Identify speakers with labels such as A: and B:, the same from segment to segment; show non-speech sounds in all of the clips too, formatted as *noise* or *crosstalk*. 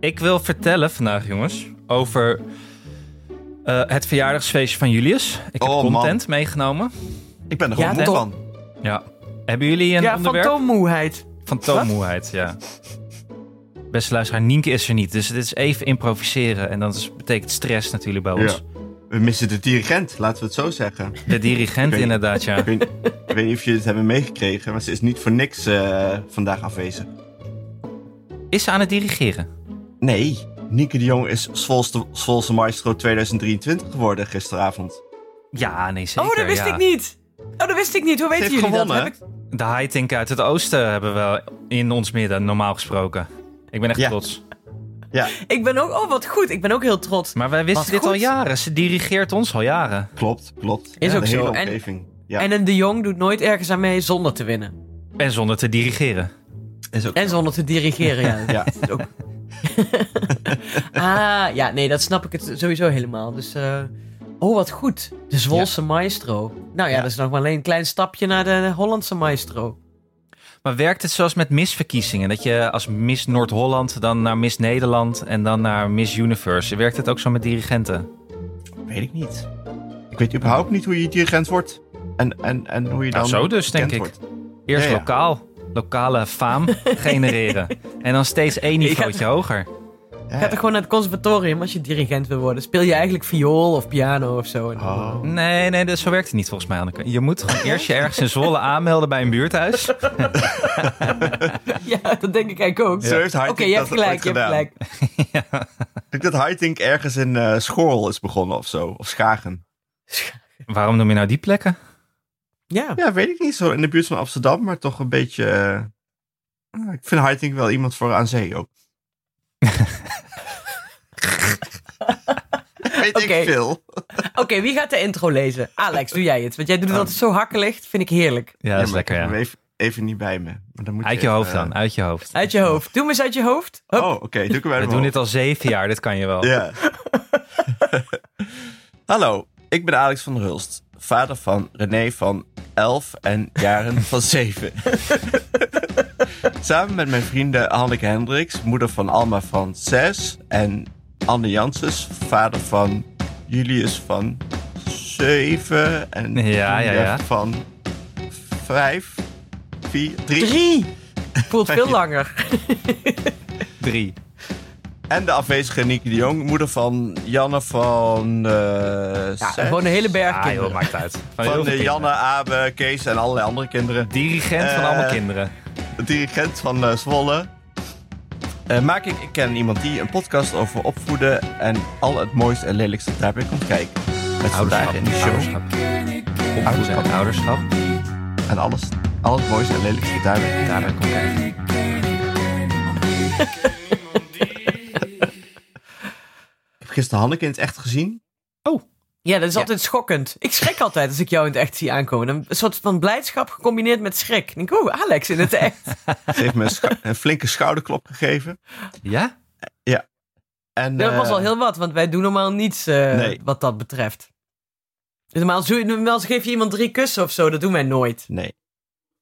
A: Ik wil vertellen vandaag, jongens, over eh, het verjaardagsfeestje van Julius. Ik heb
B: Oh, man.
A: content meegenomen.
B: Ik ben er gewoon
C: Ja,
B: moe
C: toch?
B: van.
A: Ja. Hebben jullie een
C: ja,
A: onderwerp?
C: fantoommoeheid. Oh,
A: Fantoommoeheid, ja. Beste luisteraar, Nienke is er niet. Dus dit is even improviseren. En dat is- betekent stress natuurlijk bij ons.
B: We missen de dirigent, laten we het zo zeggen. *laughs*
A: De dirigent
B: Oké.
A: inderdaad, ja.
B: Ik weet, ik weet niet of jullie het hebben meegekregen, maar ze is niet voor niks eh, vandaag afwezig.
A: Is ze aan het dirigeren?
B: Nee, Nieke de Jong is Zwolse, Zwolse Maestro 2023 geworden gisteravond.
A: Ja, nee, zeker.
C: oh, dat wist
A: ja.
C: ik niet. Oh, dat wist ik niet. Hoe weten
B: heeft
C: jullie
B: gewonnen,
C: dat? Heb ik...
A: De hightink uit het oosten hebben we in ons midden, normaal gesproken. Ik ben echt
B: Ja.
A: trots.
B: Ja,
C: ik ben ook... Oh, wat goed. Ik ben ook heel trots.
A: Maar wij wisten
C: Wat
A: dit
C: goed.
A: al jaren. Ze dirigeert ons al jaren.
B: klopt, klopt.
C: Is
B: Ja,
C: ook
B: de
C: zo.
B: hele
C: En-
B: omgeving. Ja,
C: En een de Jong doet nooit ergens aan mee zonder te winnen.
A: En zonder te dirigeren.
B: is ook
C: En zonder te dirigeren, ja.
B: *laughs*
C: *laughs*
B: Ja.
C: Dat is ook- ah, ja, nee, dat snap ik het sowieso helemaal. Dus, eh, oh, wat goed. De Zwolse maestro. Nou ja, dat is nog maar alleen een klein stapje naar de Hollandse maestro.
A: Maar werkt het zoals met misverkiezingen? Dat je als Miss Noord-Holland dan naar Miss Nederland en dan naar Miss Universe. Werkt het ook zo met dirigenten?
B: Weet ik niet. Ik weet überhaupt niet hoe je dirigent wordt. En, en, en hoe je dan.
A: Nou, zo dus, denk
B: bekend
A: ik. Eerst
B: Ja, ja.
A: lokaal. Lokale
B: *laughs*
A: faam genereren. En dan steeds één niveautje hoger.
B: wordt.
C: Ga toch gewoon naar het conservatorium als je dirigent wil worden. Speel je eigenlijk viool of piano of zo. En dan-
B: Oh.
A: Nee, nee, dus zo werkt het niet volgens mij, Anneke. Je moet gewoon eerst je ergens in Zwolle aanmelden bij een buurthuis.
C: *laughs* Ja, dat denk ik eigenlijk ook.
B: Zo heeft
C: Oké,
B: Haitink
C: je
B: dat
C: hebt gelijk,
B: ooit
C: je hebt
B: gedaan.
C: gelijk.
B: Ik denk dat Haitink ergens in eh Schorl is begonnen of zo. Of Schagen.
A: Waarom noem je nou die plekken?
C: Ja,
B: Ja, weet ik niet. Zo in de buurt van Amsterdam, maar toch een beetje. eh, nou, ik vind Haitink wel iemand voor aan zee ook. weet
C: Oké.
B: ik veel.
C: oké, wie gaat de intro lezen? Alex, doe jij het. Want jij doet het altijd zo hakkelig, vind ik heerlijk.
A: Ja, dat is
B: maar ik
A: lekker,
B: heb
A: ja.
B: hem Even, even niet bij me. Maar dan moet
A: Uit je
B: even,
A: hoofd
B: eh,
A: dan, uit je hoofd.
C: Uit je hoofd. Doe hem eens uit je hoofd. Hup.
B: Oh, oké. doe ik hem uit
A: We
B: mijn
A: doen
B: hoofd.
A: dit al zeven jaar, dit kan je wel.
B: Ja. *laughs* Hallo, ik ben Alex van der Hulst, vader van René van 11 en
C: *laughs*
B: Jaren van 7. *laughs* Samen met mijn vrienden Hanneke Hendricks, moeder van Alma van 6 en Anne Janssens, vader van Julius van 7 en
A: Ja, ja, ja.
B: Julia van 5, 4, 3
C: Drie.
A: Oh, *laughs*
C: Voelt veel
B: Ja.
C: langer.
A: Drie.
B: en de afwezige Nieke de Jong, moeder van Janne van eh
C: Ja,
B: zes.
C: gewoon een hele berg
A: Ah joh,
C: kinderen.
A: maakt uit. Van, heel
B: Van
A: veel
B: eh,
A: kinderen.
B: Janne, Abe, Kees en allerlei andere kinderen.
A: Dirigent van
B: Eh,
A: allemaal kinderen.
B: De dirigent van eh, Zwolle. Eh, maak ik, ik ken iemand die een podcast over opvoeden en al het mooiste en lelijkste daarbij komt kijken. Met vandaag in de show.
A: Ouderschap. Opvoeden en ouderschap.
B: En alles, al het mooiste en lelijkste daarbij.
A: Daarbij komt kijken.
B: Ik heb gisteren Hanneke in het echt gezien.
C: Oh. Ja, dat is altijd schokkend. Ik schrik altijd als ik jou in het echt zie aankomen. Een soort van blijdschap gecombineerd met schrik. Ik denk, oeh, Alex in het
A: *laughs*
C: echt.
B: Ze heeft me een, scho- een flinke schouderklop gegeven.
A: Ja?
B: En,
C: Dat was
B: eh,
C: al heel wat, want wij doen normaal niets eh,
B: Nee.
C: wat dat betreft. Dus Normaal, zo- normaal geef je iemand drie kussen of zo, dat doen wij nooit.
B: Nee.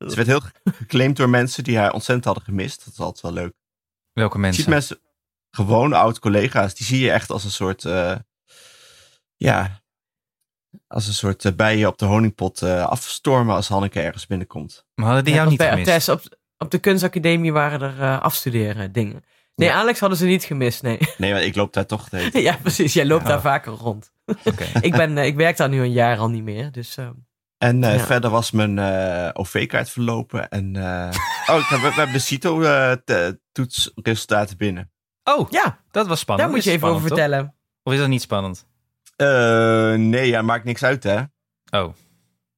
B: Ze werd heel ge- geclaimd door mensen die haar ontzettend hadden gemist. Dat is altijd wel leuk.
A: Welke
B: Je
A: mensen?
B: ziet mensen, gewoon oud-collega's, die zie je echt als een soort, eh, ja, als een soort eh, bijen op de honingpot eh, afstormen als Hanneke ergens binnenkomt.
A: Maar hadden die
C: Net
A: jou
C: als
A: niet
C: bij
A: gemist?
C: Artes op, op de kunstacademie waren er eh, afstuderen dingen. Nee, Alex hadden ze niet gemist, nee.
B: Nee, want ik loop daar toch de hele tijd.
C: *laughs* ja, precies, jij loopt
A: Ja.
C: daar vaker rond.
A: Oké.
C: ik, ben, eh, ik werk daar nu een jaar al niet meer, dus... eh,
B: En eh,
C: Ja.
B: verder was mijn eh, OV-kaart verlopen en, eh, oh, ik heb, we hebben de CITO-toetsresultaten binnen.
A: Oh,
C: ja,
A: dat was spannend.
C: daar moet je
A: Is
C: even
A: spannend,
C: over
A: toch?
C: vertellen.
A: Of is dat niet spannend?
B: Eh, nee, ja, maakt niks uit, hè?
A: Oh.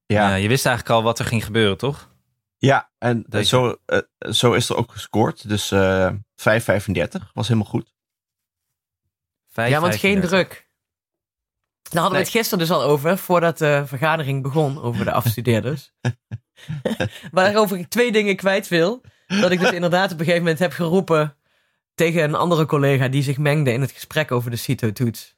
B: Ja.
A: Eh, je wist eigenlijk al wat er ging gebeuren, toch?
B: Ja, en
A: Deze.
B: zo, eh, zo is er ook gescoord. Dus eh 5,35 was helemaal goed.
A: Vijf,
C: Ja, want geen
A: 35.
C: druk. Daar hadden
B: Nee.
C: we het gisteren dus al over, voordat de vergadering begon over de afstudeerders. *laughs* Waarover ik twee dingen kwijt wil. Dat ik dus inderdaad op een gegeven moment heb geroepen tegen een andere collega die zich mengde in het gesprek over de CITO-toets.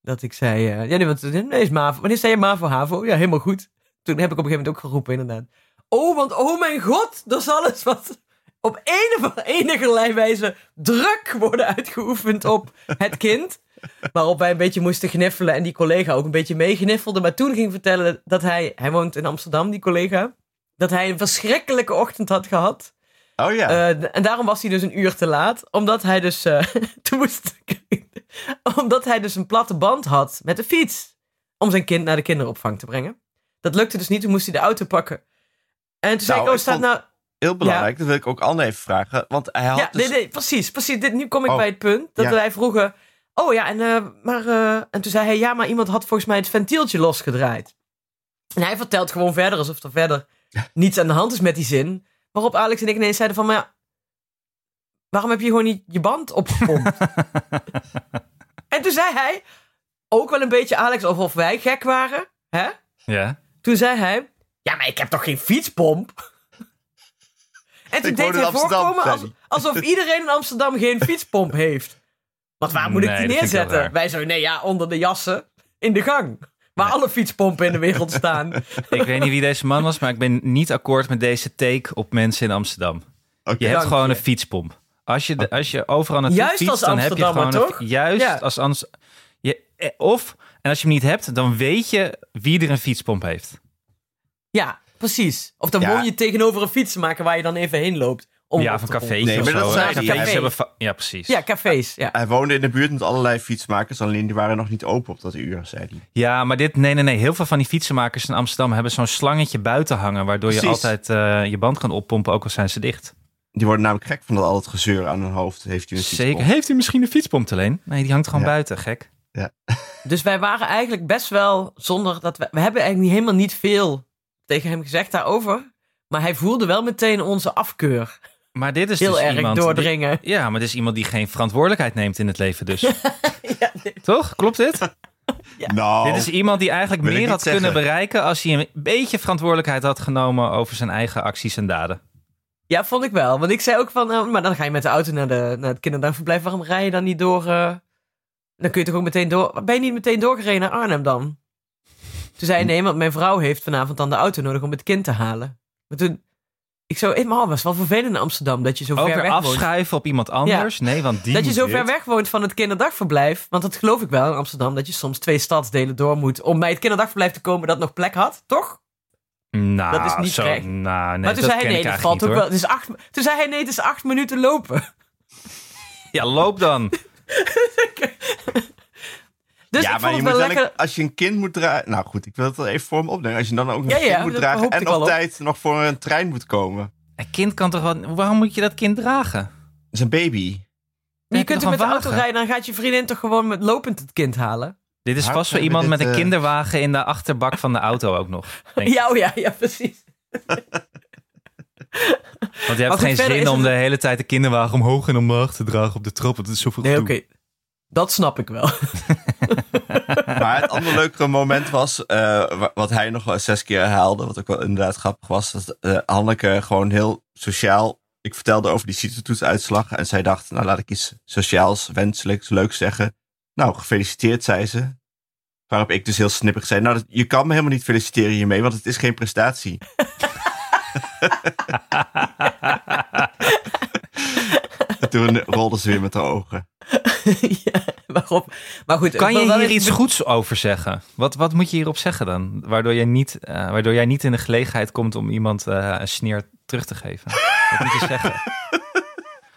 C: Dat ik zei, eh, ja nee, want nee, is MAVO. Wanneer zei je MAVO, HAVO? Ja, helemaal goed. Toen heb ik op een gegeven moment ook geroepen inderdaad. Oh, want oh mijn god, er zal eens wat op een of enige wijze druk worden uitgeoefend op het kind. Waarop wij een beetje moesten gniffelen en die collega ook een beetje meegniffelde. Maar toen ging vertellen dat hij, hij woont in Amsterdam, die collega, dat hij een verschrikkelijke ochtend had gehad.
B: Oh ja.
C: Eh, en daarom was hij dus een uur te laat. Omdat hij dus. eh, *laughs* toen moest ik- omdat hij dus een platte band had met de fiets. Om zijn kind naar de kinderopvang te brengen. Dat lukte dus niet, toen moest hij de auto pakken. En toen zei
B: Nou,
C: ik: Oh,
B: ik
C: staat
B: vond-
C: nou.
B: Heel belangrijk, dat wil ik ook Anne even vragen. Want hij had
C: Ja,
B: dus...
C: nee, nee, precies. precies dit, nu kom ik
B: Oh,
C: bij het punt dat
B: ja.
C: wij vroegen. Oh ja, en, eh, maar, eh, en toen zei hij: Ja, maar iemand had volgens mij het ventieltje losgedraaid. En hij vertelt gewoon verder alsof er verder niets aan de hand is met die zin. Waarop Alex en ik ineens zeiden: van, Maar ja, waarom heb je gewoon niet je band
B: *laughs*
C: opgepompt? en toen zei hij: Ook wel een beetje Alex of, of wij gek waren. Hè?
A: Ja.
C: Toen zei hij: Ja, maar ik heb toch geen fietspomp? En toen
B: Ik woon
C: deed
B: in
C: hij
B: Amsterdam,
C: voorkomen
B: zei
C: als-
B: hij.
C: alsof iedereen in Amsterdam geen fietspomp heeft. Want waar moet ik
A: Nee,
C: die
A: dat vind ik wel raar.
C: neerzetten? Wij zo, nee ja, onder de jassen in de gang. Waar alle fietspompen in de wereld staan.
A: *laughs* Ik weet niet wie deze man was, maar ik ben niet akkoord met deze take op mensen in Amsterdam.
B: Oké.
A: Je hebt
C: Dank
A: gewoon
C: je. Oh.
A: een fietspomp. Als je, de- als je overal naartoe
C: Juist
A: fietst,
C: als
A: dan heb je gewoon
C: Amsterdammer,
A: een-
C: toch?
A: Juist
C: Ja.
A: als Amst- je, eh, Of, en als je hem niet hebt, dan weet je wie er een fietspomp heeft.
C: Ja, precies. Of dan
B: Ja.
C: woon je tegenover een fietsenmaker waar je dan even heen loopt. Om
A: ja,
C: op
A: van
C: te pompen.
A: cafeetjes
B: Nee,
A: of
B: maar dat
A: zo.
B: zei
A: hè.
B: hij.
A: Cafés
B: Café.
A: hebben va- ja, precies.
C: Ja,
A: Ja.
C: cafés. Ja.
B: Hij woonde in de buurt met allerlei fietsmakers, alleen die waren nog niet open op dat uur, zei hij.
A: maar dit, nee, nee, nee. Heel veel van die fietsenmakers in Amsterdam hebben zo'n slangetje buiten hangen. Waardoor je
B: Precies.
A: altijd eh, je band kan oppompen, ook al zijn ze dicht.
B: Die worden namelijk gek van dat al het gezeur aan hun hoofd. Heeft u een
A: Zeker.
B: fietspomp?
A: Heeft u misschien een fietspomp te leen? Nee, die hangt gewoon
B: Ja.
A: buiten, gek.
C: Dus wij waren eigenlijk best wel zonder dat we. We hebben eigenlijk niet- helemaal niet veel tegen hem gezegd daarover. Maar hij voelde wel meteen onze afkeur.
A: Maar dit is
C: Heel
A: dus
C: erg
A: iemand... die- *laughs*
C: doordringen.
A: ja, maar dit is iemand die geen verantwoordelijkheid neemt in het leven
C: *laughs*
A: dus.
C: Ja, nee.
A: Toch? Klopt dit?
B: Nou,
A: Dit is iemand die eigenlijk
B: Wil ik
A: meer
B: niet
A: had kunnen
B: zeggen.
A: bereiken als hij een beetje verantwoordelijkheid had genomen over zijn eigen acties en daden.
C: ja, vond ik wel. Want ik zei ook van, eh, maar dan ga je met de auto naar, de, naar het kinderdagverblijf. Waarom rij je dan niet door? eh, dan kun je toch ook meteen door. Ben je niet meteen doorgereden naar Arnhem dan? Toen zei hij, nee, want mijn vrouw heeft vanavond dan de auto nodig om het kind te halen. Maar toen, ik zo, eh, maar het was wel vervelend in Amsterdam dat je zo
A: Ook
C: ver
A: weer
C: weg woont.
A: afschuiven op iemand anders. Nee, want die
C: Dat je
A: moet
C: zo
A: dit.
C: ver weg woont van het kinderdagverblijf. Want dat geloof ik wel in Amsterdam, dat je soms twee stadsdelen door moet om bij het kinderdagverblijf te komen dat nog plek had, toch?
A: Nou,
C: Dat is niet
A: zo,
C: terecht.
A: nou, nee,
C: maar toen
A: dat
C: zei hij,
A: ken
C: nee,
A: ik
C: dat
A: eigenlijk
C: valt
A: niet,
C: ook
A: hoor.
C: wel. Het is acht, toen zei hij, nee, het is acht minuten lopen. *laughs*
A: Ja, loop dan.
C: Dus
B: ja, maar
C: ik vond
B: je
C: het
B: moet
C: wel
B: wel
C: lekker...
B: een- als je een kind moet dragen. Nou goed, ik wil het wel even voor me opnemen. Als je dan ook een
C: Ja,
B: kind
C: ja,
B: moet
C: dat
B: dragen
C: hoopte
B: en
C: ik al
B: op
C: op.
B: tijd nog voor een trein moet
A: *laughs*
B: komen.
A: Een kind kan toch wel... Waarom moet je dat kind dragen?
B: Dat is een baby.
C: je
A: heb je
C: kunt er
A: nog
C: met de
A: een
C: auto
A: wagen?
C: rijden, dan gaat je vriendin toch gewoon met lopend het kind halen?
A: Dit is
B: Houdt
A: vast voor
B: mij
A: iemand met
B: met dit,
A: een
B: eh,
A: kinderwagen in de achterbak van de auto ook nog. Denk ik.
C: *laughs* Ja, oh ja, ja, precies.
A: Want je hebt
C: Maar goed,
A: geen
C: verder
A: zin
C: is
A: om
C: het-
A: de hele tijd de kinderwagen omhoog en omlaag te dragen op de trap. Want het is zoveel
C: Nee, oké.
A: gedoe.
C: Dat snap ik wel. *laughs*
B: Maar het andere leukere moment was, eh, wa- wat hij nog wel zes keer herhaalde, wat ook wel inderdaad grappig was, dat eh, Hanneke gewoon heel sociaal. Ik vertelde over die CITO-toetsuitslag en zij dacht, nou laat ik iets sociaals, wenselijks, leuks zeggen. Nou, gefeliciteerd, zei ze. Waarop ik dus heel snippig zei, nou dat- je kan me helemaal niet feliciteren hiermee, want het is geen *laughs* prestatie. en toen rolde ze weer met haar ogen.
C: ja, waarop? Maar goed,
A: Kan
C: ik wil
A: je
C: wel
A: hier
C: even-
A: iets goeds over zeggen? Wat, wat moet je hierop zeggen dan? Waardoor jij, niet, eh, waardoor jij niet in de gelegenheid komt om iemand eh, een sneer terug te geven. Wat moet je zeggen?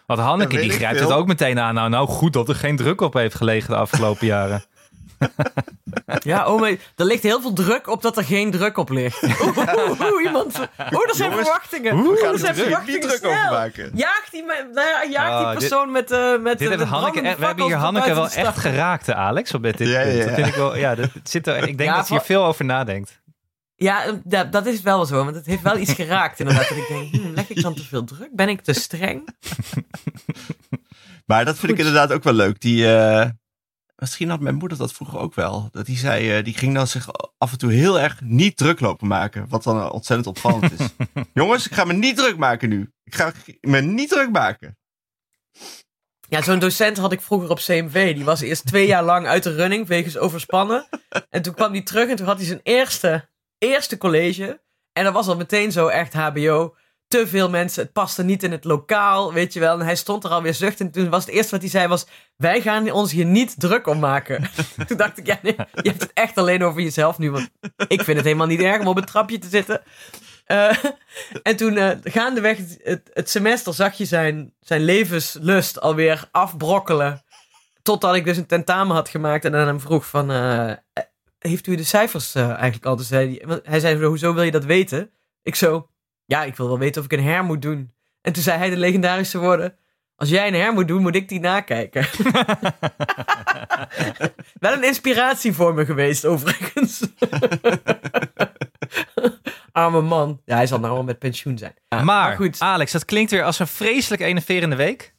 A: Want
B: Dat
A: Hanneke
B: weet
A: die
B: ik
A: grijpt
B: veel.
A: het ook meteen aan. Nou, nou, goed dat er geen druk op heeft gelegen de afgelopen jaren.
C: Ja, oh maar er ligt heel veel druk op dat er geen druk op
A: *laughs*
C: ligt. Oeh, oeh, oeh, iemand... Oeh, er zijn
B: Jongens,
C: verwachtingen.
A: we
C: Oeh,
A: gaan
C: er
A: er
C: zijn
A: druk-
C: verwachtingen.
B: niet druk
C: snel.
B: over maken.
C: Jaagt die, me- nou ja, jaagt
A: Ah,
C: die
A: dit-
C: persoon met, eh met
A: Dit
C: de,
A: heeft
C: de
A: Hanneke,
C: brandende
A: we hebben hier
C: fakkels van
A: Hanneke wel
C: buiten de
A: echt
C: stad.
A: geraakt, hè, Alex, op dit, dit
B: Ja,
A: punt.
B: ja,
A: Dat
B: ja.
A: vind ik wel, ja, dat het zit er, ik denk
C: Ja,
A: dat ze hier
C: voor-
A: veel over nadenkt.
C: Ja, eh, dat, dat is wel zo, want het heeft wel iets geraakt inderdaad. Dat ik denk, hmm, leg ik dan te veel druk? Ben ik te streng?
B: Maar dat vind ik
C: Goed.
B: inderdaad ook wel leuk. Die, eh, misschien had mijn moeder dat vroeger ook wel. Dat die zei, eh, die ging dan zich af en toe heel erg niet druk lopen maken. Wat dan eh, ontzettend opvallend is. Jongens, ik ga me niet druk maken nu. Ik ga me niet druk maken.
C: Ja, zo'n docent had ik vroeger op CMV. Die was eerst twee jaar lang uit de running wegens overspannen. En toen kwam hij terug en toen had hij zijn eerste, eerste college. En dat was al meteen zo echt HBO. te veel mensen. Het paste niet in het lokaal, weet je wel. En hij stond er alweer zuchtend. Toen was het eerste wat hij zei was... Wij gaan ons hier niet druk om maken. *laughs* Toen dacht ik, ja, nee, je hebt het echt alleen over jezelf nu. Want ik vind het helemaal niet erg om op een trapje te zitten. Eh, en toen eh, gaandeweg het, het, het semester zag je zijn, zijn levenslust alweer afbrokkelen. Totdat ik dus een tentamen had gemaakt en aan hem vroeg van... eh, heeft u de cijfers eh, eigenlijk al? Dus zei hij, want hij zei, hoezo wil je dat weten? Ik zo, ja, ik wil wel weten of ik een her moet doen. En toen zei hij de legendarische woorden... Als jij een her moet doen, moet ik die nakijken. *laughs* Wel een inspiratie voor me geweest, overigens. Arme man. Ja, hij zal nou al met pensioen zijn. Ja,
A: maar,
C: goed.
A: Alex, dat klinkt weer als een vreselijk enerverende week.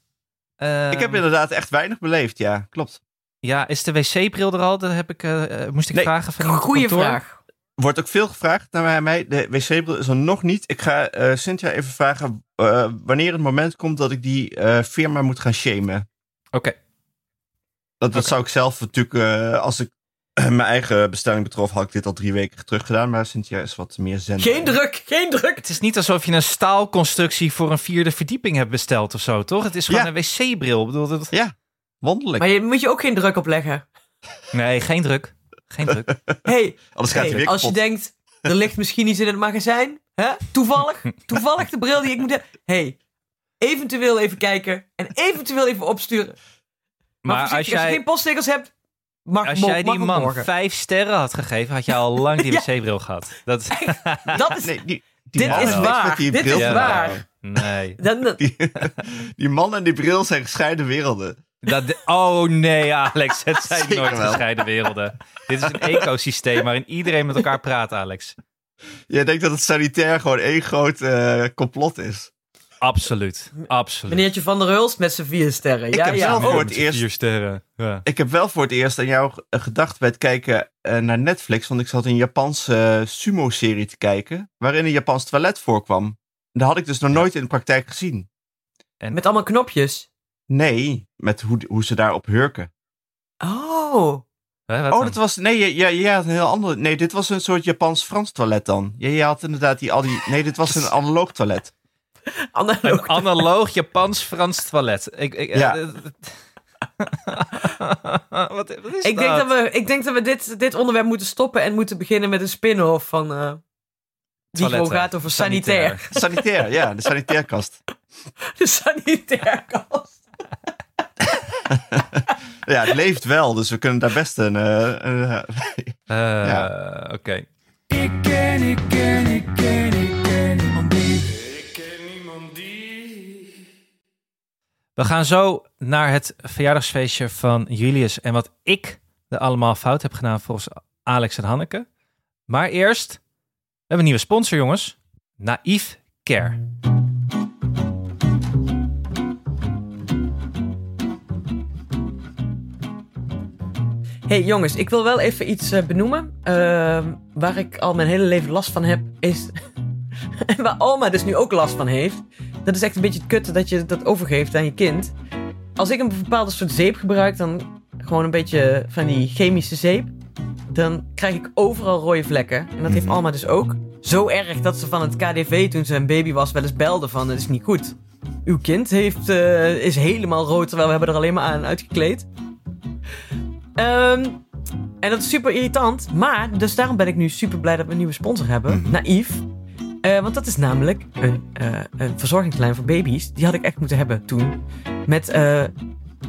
A: Ehm,
B: ik heb inderdaad echt weinig beleefd, ja. Klopt.
A: Ja, is de wc-bril er al? Dat heb ik, eh, eh, moest ik
B: Nee.
A: vragen van iemand op
C: Goeie
A: kantoor.
C: vraag.
B: Wordt ook veel gevraagd naar mij. De wc-bril is er nog niet. Ik ga eh, Cynthia even vragen eh, wanneer het moment komt dat ik die eh, firma moet gaan shamen.
A: Oké,
B: Dat, dat
A: Oké.
B: zou ik zelf natuurlijk, eh, als ik *clears throat* mijn eigen bestelling betrof, had ik dit al drie weken terug gedaan. Maar Cynthia is wat meer zen.
C: Geen
A: eh,
C: druk, geen druk.
A: het is niet alsof je een staalconstructie voor een vierde verdieping hebt besteld of zo, toch? Het is gewoon
B: Ja.
A: een wc-bril. Ik bedoel, dat...
B: Wonderlijk.
C: Maar je moet je ook geen druk opleggen.
A: Nee, geen druk. Geen
B: *laughs*
A: druk.
C: hey,
B: Anders gaat hij
C: hey,
B: weer
C: als je
B: kapot.
C: denkt, er ligt misschien iets in het magazijn. Hè?
A: *laughs*
C: Toevallig, toevallig de bril die ik moet hebben. hey, eventueel even kijken en eventueel even opsturen. Maar,
A: Maar als
C: voorzichtig, als je
A: jij,
C: geen poststickers hebt, mag,
A: als
C: mo-
A: jij
C: mag
A: die
C: ook
A: man
C: morgen.
A: vijf sterren had gegeven, had je al lang
B: *laughs*
A: die
C: Ja.
A: wc-bril gehad. Dat,
C: Dat is,
B: Nee, die, die
C: dit
B: man
C: is
B: heeft niks
C: waar.
B: met die
C: Dit is
B: bril te maken. *laughs*
C: waar.
A: nee.
C: Dan, dan-
B: Die, die man en die bril zijn gescheiden werelden.
A: Dat, oh nee, Alex,
B: *laughs*
A: het zijn
B: Zeker
A: nooit
B: wel.
A: gescheiden werelden. Dit is een ecosysteem waarin iedereen met elkaar praat, Alex.
B: Jij denkt dat het sanitair gewoon één groot eh, complot is.
A: Absoluut, absoluut.
C: meneertje Van der Hulst met z'n vier sterren.
B: Ik
C: ja,
B: heb
C: ja. Oh,
B: zelf
A: Meer
B: Oh, voor het
A: met
B: eerst-
A: Vier sterren. Ja.
B: Ik heb wel voor het eerst aan jou g- gedacht bij het kijken eh, naar Netflix. Want ik zat een Japanse eh, sumo-serie te kijken. Waarin een Japans toilet voorkwam. En dat had ik dus nog nooit in de praktijk gezien.
C: Met allemaal knopjes.
B: Nee, met hoe, hoe ze daarop hurken.
C: Oh.
A: Hè, wat
B: Oh,
A: dan?
B: dat was. Nee, jij- jij jij had een heel ander. Nee, dit was een soort Japans-Frans toilet dan. Jij jij had inderdaad die, al die. Nee, dit was een analoog toilet.
A: Een
C: Analoog.
A: analoog Japans-Frans toilet. Ik, ik,
B: Ja.
A: eh, wat, *laughs* wat is
C: Ik denk dat we, ik denk dat we dit, dit onderwerp moeten stoppen en moeten beginnen met een spin-off van... eh die gewoon
A: Toiletten.
C: gaat over sanitair. *laughs*
B: Sanitair, ja, de sanitairkast.
C: De sanitair kast.
B: Ja, het leeft wel, dus we kunnen daar best een. eh, een, eh,
A: Eh,
B: Ja.
A: Oké.
D: Ik ken, ik ken, ik ken, ik ken niemand die. Ik ken niemand die.
A: We gaan zo naar het verjaardagsfeestje van Julius en wat ik er allemaal fout heb gedaan volgens Alex en Hanneke. Maar eerst, we hebben een nieuwe sponsor, jongens. Naïef Care.
C: hey, jongens, ik wil wel even iets eh, benoemen. Ehm, waar ik al mijn hele leven last van heb, is... *laughs* en waar Alma dus nu ook last van heeft. Dat is echt een beetje het kutte dat je dat overgeeft aan je kind. Als ik een bepaalde soort zeep gebruik, dan gewoon een beetje van die chemische zeep. Dan krijg ik overal rode vlekken. En dat heeft Alma dus ook. Zo erg dat ze van het KDV toen ze een baby was wel eens belde van het is niet goed. Uw kind heeft, eh, is helemaal rood, terwijl we hebben er alleen maar aan uitgekleed. Ehm, en dat is super irritant. Maar, dus daarom ben ik nu super blij dat we een nieuwe sponsor hebben. Naïef. Eh, want dat is namelijk een, eh, een verzorgingslijn voor baby's. Die had ik echt moeten hebben toen. Met eh,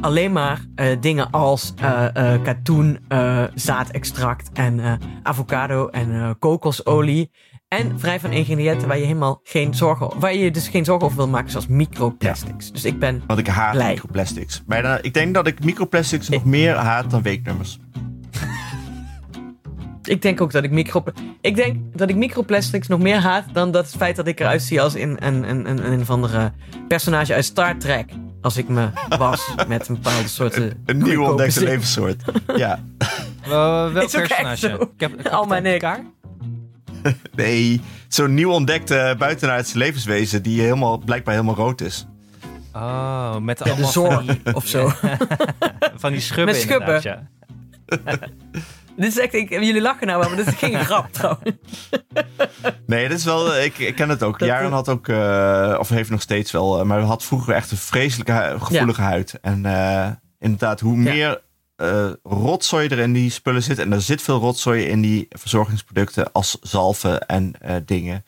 C: alleen maar eh, dingen als eh, eh, katoen, eh, zaadextract en eh, avocado en eh, kokosolie. En vrij van ingrediënten waar je helemaal geen zorgen, waar je dus geen zorgen over wil maken, zoals microplastics. Dus ik ben
B: want ik haat
C: Blij.
B: microplastics. Maar dan- ik denk dat ik microplastics nog meer haat dan weeknummers.
C: Ik denk ook dat ik micro... Ik denk dat ik microplastics nog meer haat dan dat het feit dat ik eruit zie als in een, een, een, een of andere personage uit Star Trek. Als ik me
B: *laughs*
C: was met een bepaalde soorten...
B: Een nieuw
C: goedkope
B: ontdekte
C: zin. *laughs*
B: levenssoort. Ja,
A: Wel- welk
C: Is ook echt
A: personage?
C: zo.
A: Ik heb, ik heb
C: Alma
A: het
C: en ik.
A: elkaar.
B: nee. Zo'n nieuw ontdekte buitenaardse levenswezen die helemaal, blijkbaar helemaal rood is.
A: Oh, met
C: De
A: allemaal van
C: zorg
A: die,
C: of zo.
A: van die schubben
C: Met schubben.
A: inderdaad, ja.
C: Dit is echt, ik, jullie lachen nou wel, maar dit is geen grap *laughs* trouwens.
B: Nee, dit is wel, ik, ik ken het ook.
C: Dat,
B: Jaren
C: eh,
B: had ook, eh, of heeft nog steeds wel, eh, maar had vroeger echt een vreselijke hu- gevoelige huid. En eh, inderdaad, hoe
C: Ja.
B: meer eh, rotzooi er in die spullen zit, en er zit veel rotzooi in die verzorgingsproducten als zalven en eh, dingen,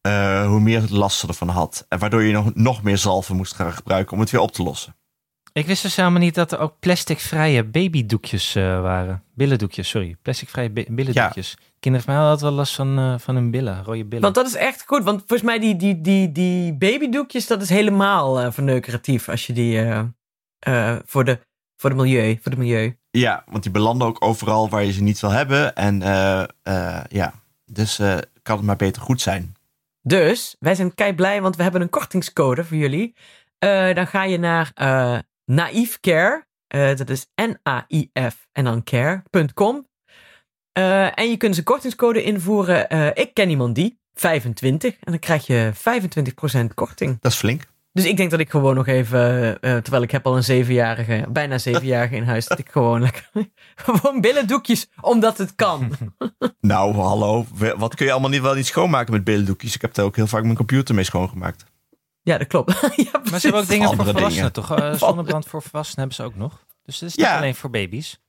B: eh, hoe meer last ze ervan had. En waardoor je nog, nog meer zalven moest gaan gebruiken om het weer op te lossen.
A: Ik wist dus helemaal niet dat er ook plasticvrije babydoekjes eh, waren. Billendoekjes, sorry. Plasticvrije bi- billendoekjes. Kinderen van mij hadden wel last van, eh, van hun billen, rode billen.
C: Want dat is echt goed, want volgens mij die, die, die, die babydoekjes, dat is helemaal eh verneukeratief als je die eh, eh, voor, de, voor, de milieu, voor de milieu.
B: Ja, want die belanden ook overal waar je ze niet wil hebben. En eh, eh, ja, dus eh, kan het maar beter goed zijn.
C: Dus wij zijn kei blij, want we hebben een kortingscode voor jullie. Eh, dan ga je naar eh Naïef Care. Eh, dat is N-A-I-F en dan care.com. Eh, en je kunt dus een kortingscode invoeren. eh, ik ken iemand die, 25. En dan krijg je 25% korting.
B: Dat is flink.
C: Dus ik denk dat ik gewoon nog even, eh, eh, terwijl ik heb al een zevenjarige, bijna zevenjarige in huis, dat ik gewoon lekker, *laughs* gewoon billendoekjes, omdat het
A: *laughs*
C: kan.
B: Nou, hallo. We- Wat kun je allemaal niet, wel niet schoonmaken met billendoekjes? Ik heb daar ook heel vaak mijn computer mee schoongemaakt.
C: Ja, dat klopt. *laughs* ja,
A: maar ze hebben ook dingen
C: precies.
A: voor
B: Andere dingen.
A: volwassenen, toch? Eh, zonnebrand voor volwassenen hebben ze ook nog. Dus het is niet
B: Ja.
A: alleen voor baby's.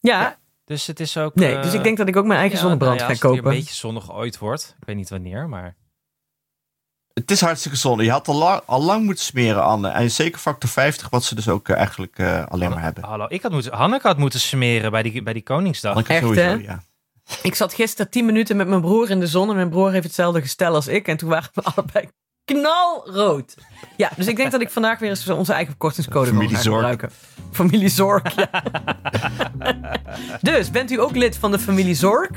C: Ja,
A: Dus het is ook...
C: nee, dus ik denk dat ik ook mijn eigen zonnebrand
A: nou ja,
C: ga
A: als het weer
C: kopen.
A: een beetje zonnig ooit wordt. Ik weet niet wanneer, maar...
B: Het is hartstikke zonde. Je had al lang, al lang moeten smeren, Anne. En zeker factor 50, wat ze dus ook eh, eigenlijk eh, alleen maar hebben.
A: Hallo, ik had moeten, Hanneke had moeten smeren bij die, bij die Koningsdag.
B: Anneke
C: echt, hè?
B: ja.
C: Ik zat gisteren tien minuten met mijn broer in de zon en mijn broer heeft hetzelfde gestel als ik. En toen waren we *laughs* allebei knalrood. Ja, dus ik denk dat ik vandaag weer eens onze eigen kortingscode wil gaan
B: Familiezorg.
C: gebruiken. Familie Zorg, ja. dus, bent u ook lid van de familie Zorg?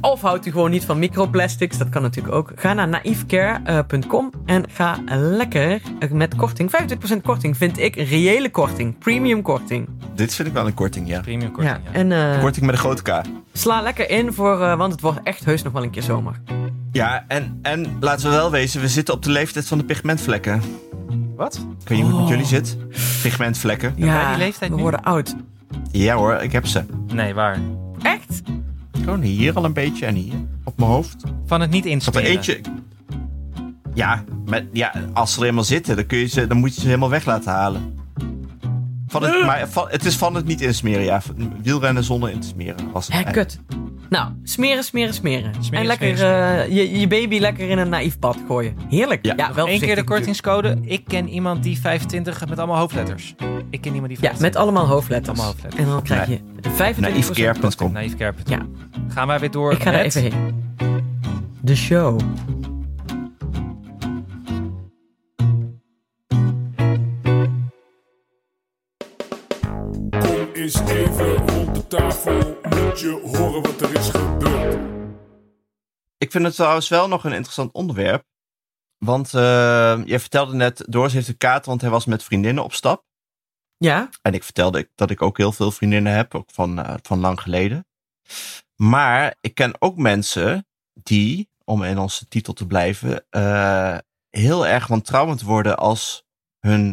C: of houdt u gewoon niet van microplastics? Dat kan natuurlijk ook. Ga naar naïefcare.com en ga lekker met korting. 25% korting vind ik een reële korting. Premium korting.
B: Dit vind ik wel een korting, ja.
A: Premium korting, ja.
C: En eh,
B: Korting met een grote K.
C: sla lekker in, voor, eh, want het wordt echt heus nog wel een keer zomer.
B: Ja, en, en laten we wel wezen, we zitten op de leeftijd van de pigmentvlekken.
A: Wat?
B: Ik weet niet hoe
C: Oh.
B: het met jullie zit. Pigmentvlekken.
A: wij die leeftijd
C: we
A: nu?
C: worden oud.
B: Ja hoor, ik heb ze.
A: Nee, waar?
C: Echt?
B: Gewoon hier al een beetje en hier. Op mijn hoofd.
A: Van het niet
B: Dat er
A: insmeren.
B: eentje. Ja, maar, ja, als ze er helemaal zitten, dan, kun je ze, dan moet je ze helemaal weg laten halen. Van het, maar van, het is van het niet insmeren, ja. Van- Wielrennen zonder in te smeren. Was het
C: Hé,
B: eigenlijk.
C: kut. Nou, smeren, smeren, smeren.
A: Smeren,
C: en lekker
A: smeren,
C: eh, je, je baby lekker in een naïef bad gooien. Heerlijk. Ja,
B: Ja.
C: wel
A: Eén keer de
C: voorzichtig.
A: kortingscode. Ik ken iemand die 25 met allemaal hoofdletters. Ik ken iemand die 25.
C: Ja, met allemaal hoofdletters.
A: Allemaal hoofdletters.
C: En dan krijg je 25%.
B: Naïefcare.com.
A: Naïef Kerpen.
C: Ja,
A: Gaan wij weer door
C: ik ga er
A: met...
C: even heen. De show.
D: Kom eens even rond de tafel, moet je horen wat er is gebeurd.
B: Ik vind het trouwens wel nog een interessant onderwerp. Want eh je vertelde net, Doris heeft een kaart, want hij was met vriendinnen op stap.
C: Ja,
B: En ik vertelde ik- dat ik ook heel veel vriendinnen heb, ook van, eh, van lang geleden. Maar ik ken ook mensen die, om in onze titel te blijven, eh, heel erg wantrouwend worden als hun,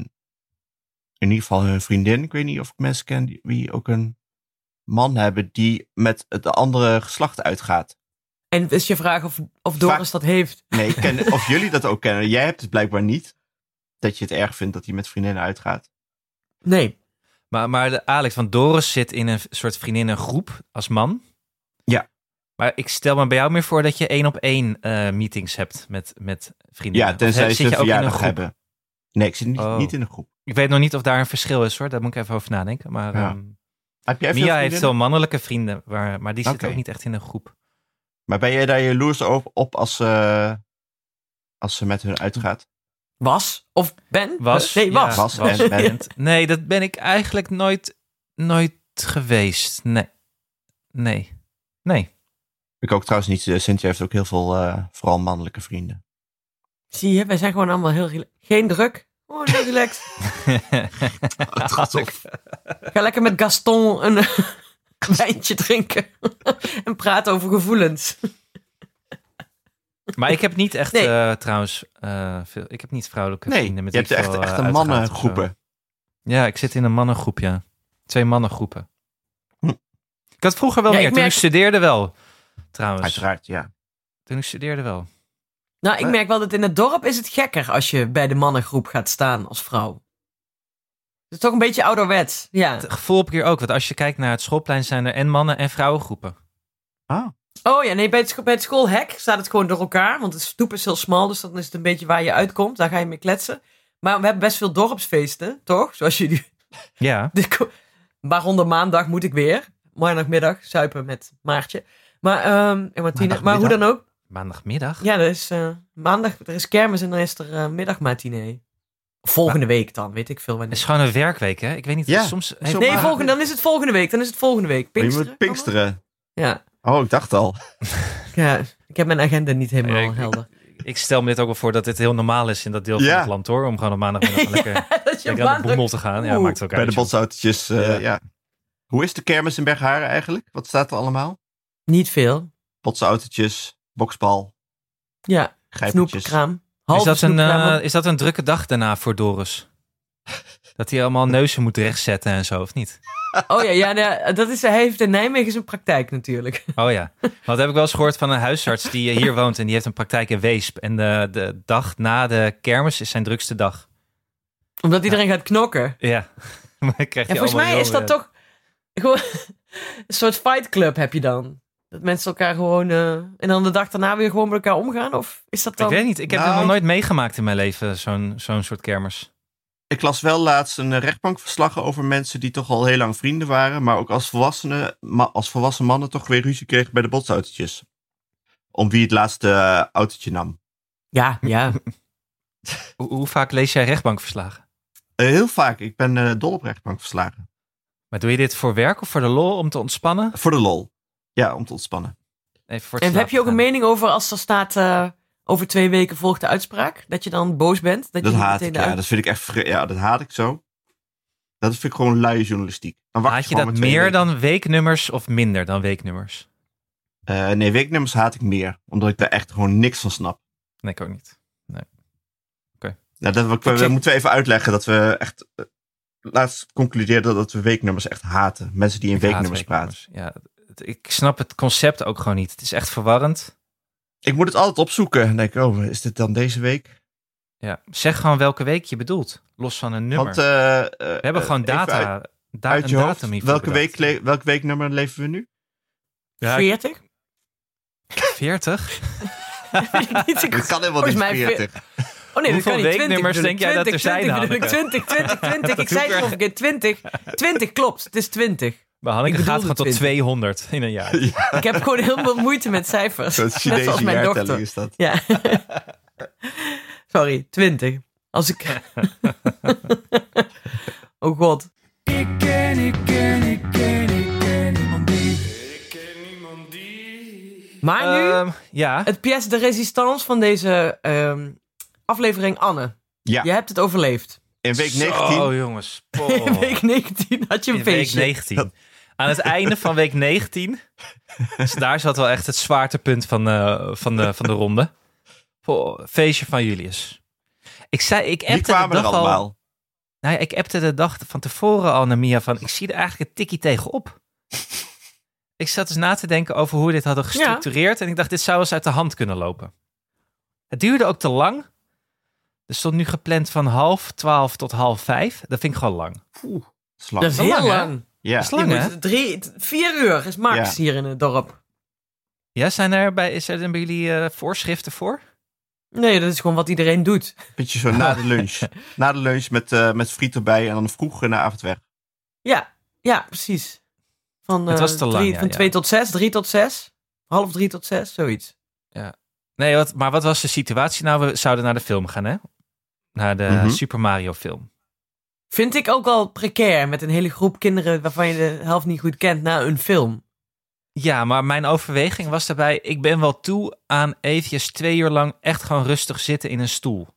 B: in ieder geval hun vriendin, ik weet niet of ik mensen ken die, wie ook een man hebben, die met het andere geslacht uitgaat.
C: en is je vraag of, of Doris dat heeft?
B: Nee, ik
A: *laughs*
B: ken, of jullie dat ook kennen. Jij hebt het blijkbaar niet. Dat je het erg vindt dat hij met vriendinnen uitgaat.
C: Nee.
A: Maar, maar de Alex, want Doris zit in een soort vriendinnengroep als man.
B: Ja.
A: Maar ik stel me bij jou meer voor dat je één op één eh, meetings hebt met, met vriendinnen.
B: Ja,
A: Of
B: tenzij
A: heb-
B: ze een verjaardag
A: groep?
B: hebben. Nee, ik zit niet,
A: Oh.
B: niet in een groep.
A: Ik weet nog niet of daar een verschil is hoor. Daar moet ik even over nadenken. Maar
B: Ja.
A: ehm,
B: Heb jij veel
A: Mia heeft
B: vriendinnen?
A: wel mannelijke vrienden, waar, maar die zitten
B: Oké.
A: ook niet echt in een groep.
B: Maar ben jij daar jaloers op, op als, ze als ze met hun uitgaat?
C: Was? Of Ben?
A: Was?
C: Nee, was.
B: Was
C: *laughs*
B: en bent.
A: Nee, dat ben ik eigenlijk nooit, nooit geweest. Nee. Nee. Nee. *laughs*
B: Ik ook trouwens niet. eh, Cynthia heeft ook heel veel, eh, vooral mannelijke *laughs* vrienden.
C: Zie je, wij zijn gewoon allemaal heel... rela- Geen druk. Oh, heel relaxed. Ga lekker met Gaston een *laughs* wijntje drinken. *laughs* en praten over gevoelens.
A: Maar ik heb niet echt
C: Nee.
A: eh, trouwens eh, veel. Ik heb niet vrouwelijke
B: Nee,
A: vrienden met
B: je hebt
A: wie ik
B: echt,
A: veel,
B: echt
A: eh,
B: een
A: uitgaat of zo.
B: mannengroepen.
A: Ja, ik zit in een mannengroep, ja. Twee mannengroepen.
B: Hm.
A: Ik had vroeger wel
C: Ja,
A: meer.
C: ik
A: Toen
C: merk-
A: ik studeerde wel. Trouwens.
B: Uiteraard, ja.
A: Toen ik studeerde wel.
C: Nou, ik merk wel dat in het dorp is het gekker als je bij de mannengroep gaat staan als vrouw. Het is toch een beetje ouderwets. Ja.
A: Het gevoel heb ik hier ook. Want als je kijkt naar het schoolplein zijn er en mannen en vrouwengroepen.
C: Oh ja, nee, bij het, scho- bij het schoolhek staat het gewoon door elkaar. Want het stoep is heel smal, dus dan is het een beetje waar je uitkomt. Daar ga je mee kletsen. Maar we hebben best veel dorpsfeesten, toch? Zoals jullie. *laughs*
A: Ja.
C: De ko- Waaronder maandag moet ik weer. Maandagmiddag zuipen met Maartje. Maar, ehm, en Martine. Maar hoe
B: Maandagmiddag.
C: dan ook.
A: Maandagmiddag.
C: Ja, er is eh, maandag er is kermis en dan is er eh, middagmatinee. Volgende week dan, weet ik veel
A: Het is
C: wanneer.
A: gewoon een werkweek, hè? Ik weet niet.
B: Ja.
A: Soms heeft-
B: Zo
C: Nee,
B: maar-
C: volgende, dan is het volgende week. Dan is het volgende week.
B: Maar Je
C: Pinksteren.
B: moet Pinksteren.
C: Ja.
B: Oh, ik dacht al.
C: ja, ik heb mijn agenda niet helemaal
A: Nee, ik-
C: helder.
A: Ik stel me dit ook wel voor dat dit heel normaal is in dat deel van
B: Ja.
A: het land, hoor. Om gewoon op maandagmiddag
C: *laughs*
A: lekker,
C: Dat je
A: lekker aan de
C: maandag
A: boemel te gaan. Ja,
C: Oeh.
A: maakt het ook
B: Bij de
A: uit. joh.
B: botsautootjes, eh,
A: Ja.
B: ja. Hoe is de kermis in Bergharen eigenlijk? Wat staat er allemaal?
C: Niet veel.
B: Botsautootjes, boksbal,
C: Ja,
B: grijpertjes.
C: snoepkraam. Halve
A: Is dat, een,
C: snoepkraam.
A: eh, is dat een drukke dag daarna voor Doris? *laughs* Dat hij allemaal neuzen moet rechtzetten en zo, of niet?
C: Oh ja, ja nee, dat is, hij heeft in Nijmegen zijn praktijk natuurlijk. *laughs*
A: Oh ja, want dat heb ik wel eens gehoord van een huisarts die eh, hier woont en die heeft een praktijk in Weesp. En de, de dag na de kermis is zijn drukste dag.
C: Omdat iedereen gaat knokken.
A: Ja. Maar *laughs* dan krijgt
C: En
A: hij
C: volgens
A: allemaal
C: mij is
A: heel,
C: dat
A: eh,
C: toch gewoon *laughs* een soort fight club heb je dan. Dat mensen elkaar gewoon... eh, en dan de dag daarna weer gewoon met elkaar omgaan? Of is dat dan...
A: Ik weet niet, ik heb
B: Nou,
A: het nog
B: ik-
A: nooit meegemaakt in mijn leven, zo'n zo'n soort kermis.
B: Ik las wel laatst een eh, rechtbankverslag over mensen die toch al heel lang vrienden waren, maar ook als volwassenen, ma- als volwassen mannen toch weer ruzie kregen bij de botsautootjes. Om wie het laatste eh, autootje
A: *laughs*
B: nam.
C: Ja, ja.
A: Hoe, hoe vaak lees jij rechtbankverslagen?
B: Eh, heel vaak, ik ben eh, dol op rechtbankverslagen.
A: Maar doe je dit voor werk of voor de lol om te ontspannen?
B: Voor de lol. Ja, om te ontspannen.
A: Even voor het
C: En heb
A: slapen
C: je ook een
A: gaan.
C: mening over als er staat... eh, over twee weken volgt de uitspraak? Dat je dan boos bent? Dat,
B: Dat
C: je niet
B: haat
C: meteen
B: ik,
C: de
B: ja.
C: uit-
B: Dat vind ik echt, vre- ja, dat haat ik zo. Dat vind ik gewoon luie journalistiek. Dan wacht
A: Haat je
B: gewoon
A: dat
B: maar twee
A: meer
B: weken.
A: dan weeknummers of minder dan weeknummers?
B: Eh, nee, weeknummers haat ik meer. Omdat ik daar echt gewoon niks van snap.
A: Nee, ik ook niet.
B: Nou, dat, we, we- we moeten even uitleggen dat we echt... eh, Laatst concludeerden dat we weeknummers echt haten. Mensen die in
A: Ik haat
B: weeknummers praten.
A: weeknummers. Ja, het- ik snap het concept ook gewoon niet. Het is echt verwarrend.
B: Ik moet het altijd opzoeken. Dan denk ik, oh, is dit dan deze week?
A: Ja, zeg gewoon welke week je bedoelt, los van een nummer.
B: Want, eh, eh,
A: We hebben gewoon
B: even
A: data,
B: Uit,
A: da-
B: uit
A: een
B: je hoofd,
A: datum hiervoor
B: welke
A: bedacht.
B: week, le- welk weeknummer leven we nu?
A: Ja,
C: 40?
A: *laughs* 40?
C: Niet, ik-
B: *laughs* Dat kan helemaal
C: Volgens
B: niet
C: mij
A: *laughs*
B: 40.
C: Oh nee, dat
A: Hoeveel
C: kan niet. 20
A: weeknummers
C: bedoel ik.
A: denk jij dat er
C: 20,
A: zijn,
C: 20 bedoel ik. 20, 20, 20. Ik
A: Dat
C: zei
A: hoeft
C: het
A: er-
C: nog een keer. 20. 20 klopt. Het is 20.
A: Maar Hanneke
C: Ik
A: gaat
C: bedoelde
A: gewoon tot
C: 20.
A: 200 in een jaar.
C: Ik heb gewoon heel veel moeite met cijfers.
B: Zo'n
C: Net zoals
B: Chinese
C: mijn
B: jaartelling
C: dochter.
B: is dat.
C: Ja.
A: *laughs*
C: Sorry, 20. Als
A: *laughs*
C: ik... oh god.
D: Ik ken, ik ken, ik ken, ik ken niemand die. Ik ken niemand die.
C: Maar nu,
A: Ehm, ja,
C: het pièce de résistance van deze ehm, aflevering Anne.
B: Ja.
C: Je hebt het overleefd.
B: In week
A: Zo,
B: 19.
A: *laughs* jongens.
C: In
A: Poh.
C: week 19 had je een
A: Oh. In week
C: feestje.
A: 19. Aan het einde van week 19. Dus daar zat wel echt het zwaartepunt van, eh, van, de, van de ronde. Poh, feestje van Julius. Ik zei, ik
B: Die
A: appte eh, de
B: kwamen er
A: dag al.
B: allemaal.
A: Nou ja, ik appte de dag van tevoren al naar Mia van... ik zie er eigenlijk een tikkie tegenop. ik zat dus na te denken over hoe we dit hadden gestructureerd... en ik dacht, dit zou eens uit de hand kunnen lopen. Het duurde ook te lang. Er stond nu gepland van half twaalf tot half vijf. Dat vind ik gewoon lang.
B: Oeh, slap.
C: Dat is
A: Dat is
C: heel
A: lang, hè?
C: lang.
B: ja.
A: Dat is lang,
C: Je
A: hè?
C: moet drie, t- vier uur is max
B: Ja.
C: hier in het dorp.
A: Ja, zijn er bij, zijn er bij jullie eh, voorschriften voor?
C: Nee, dat is gewoon wat iedereen doet.
B: Beetje zo na de
A: *laughs*
B: lunch. Na de lunch met, eh, met friet erbij en dan vroeg naar avond weg.
C: Ja, ja precies. Van,
A: Het
C: eh,
A: was te lang,
C: drie-
A: ja,
C: van
A: ja.
C: twee tot zes, drie tot zes. Half drie tot zes, zoiets.
A: Nee, wat, maar wat was de situatie? Nou, we zouden naar de film gaan, hè? Naar de
B: Mhm.
A: Super Mario film.
C: Vind ik ook al precair met een hele groep kinderen waarvan je de helft niet goed kent na een film.
A: Ja, maar mijn overweging was daarbij... ik ben wel toe aan eventjes twee uur lang echt gewoon rustig zitten in een stoel.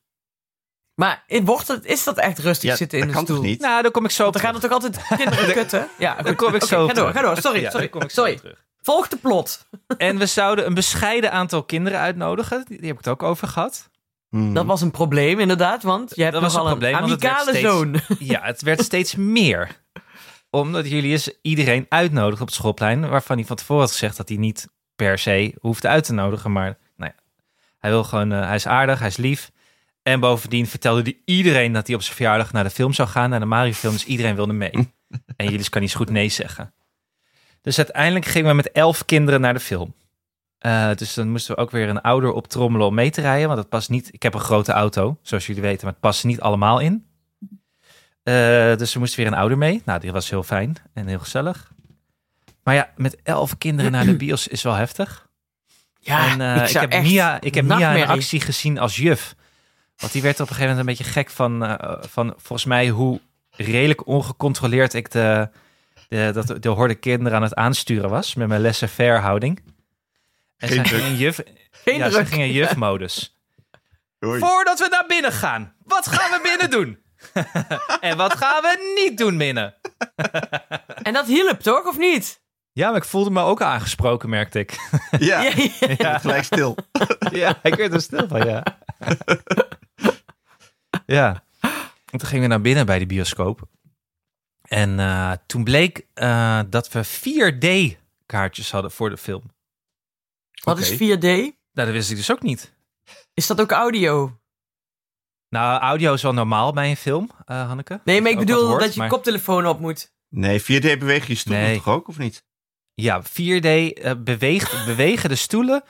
C: Maar i- wordt het, is dat echt rustig
B: Ja,
C: zitten
B: dat
C: in een
B: kan
C: stoel?
B: toch niet?
A: Nou, daar kom ik zo op
C: Want dan gaan
A: terug.
C: er toch altijd
A: *laughs*
C: kinderen kutten? Ja,
A: Daar kom ik
C: Oké,
A: zo op
C: ga door,
A: terug.
C: ga door. Sorry,
A: Ja,
C: sorry,
A: daar kom ik zo
C: sorry.
A: op terug.
C: Volg de plot.
A: En we zouden een bescheiden aantal kinderen uitnodigen. Die die heb ik het ook over gehad.
B: Hmm.
C: Dat was een probleem inderdaad, want je hebt
A: Dat was
C: nogal
A: een *laughs*
C: een,
A: probleem, want het werd
C: amicale
A: steeds-
C: zoon.
A: Ja, het werd steeds meer. omdat Julius iedereen uitnodigt op het schoolplein, waarvan hij van tevoren had gezegd dat hij niet per se hoeft uit te nodigen. Maar nou ja, hij wil gewoon, eh, hij is aardig, hij is lief. En bovendien vertelde hij iedereen dat hij op zijn verjaardag naar de film zou gaan, naar de Mario-film. Dus iedereen wilde mee. en Julius kan niet zo goed nee zeggen. Dus uiteindelijk gingen we met elf kinderen naar de film. Eh, dus dan moesten we ook weer een ouder optrommelen om mee te rijden. Want het past niet. Ik heb een grote auto, zoals jullie weten, maar het past niet allemaal in. Eh, dus er moest weer een ouder mee. Nou, die was heel fijn en heel gezellig. Maar ja, met elf kinderen naar de bios is wel heftig.
C: Ja,
A: en, eh,
C: ik, zou
A: heb
C: echt
A: Mia, ik heb Mia in
C: nachtmerrie.
A: actie gezien als juf. Want die werd op een gegeven moment een beetje gek van, eh, van volgens mij hoe redelijk ongecontroleerd ik de, de, dat, de horde kinderen aan het aansturen was. Met mijn laissez-faire houding. En
B: Geen
A: zij
B: druk.
A: ging in juf,
C: Geen
A: ja, ze
C: druk.
A: ging in jufmodus.
B: *laughs* Oei.
A: Voordat we naar binnen gaan, wat gaan we binnen doen? *laughs* en wat gaan we niet doen binnen?
C: En dat hielp toch, of niet?
A: Ja, maar ik voelde me ook aangesproken, merkte ik.
B: Ja,
C: Ja, ja.
B: je bent *laughs* gelijk stil.
A: ja, ik werd er stil van, ja. *laughs* ja. En toen gingen we naar binnen bij de bioscoop. En eh, toen bleek eh, dat we 4D-kaartjes hadden voor de film.
C: *laughs* Wat
B: Oké.
C: is 4D?
A: Nou, dat wist ik dus ook niet.
C: Is dat ook audio?
A: Nou, audio is wel normaal bij een film, eh, Hanneke.
C: Nee, maar ik
A: Ook wat
C: bedoel
A: hoort,
C: dat je
A: maar-
C: koptelefoon op moet.
B: Nee, 4D beweeg je stoel
A: Nee.
B: toch ook, of niet?
A: Ja, 4D eh, beweegt, *laughs* bewegen de stoelen.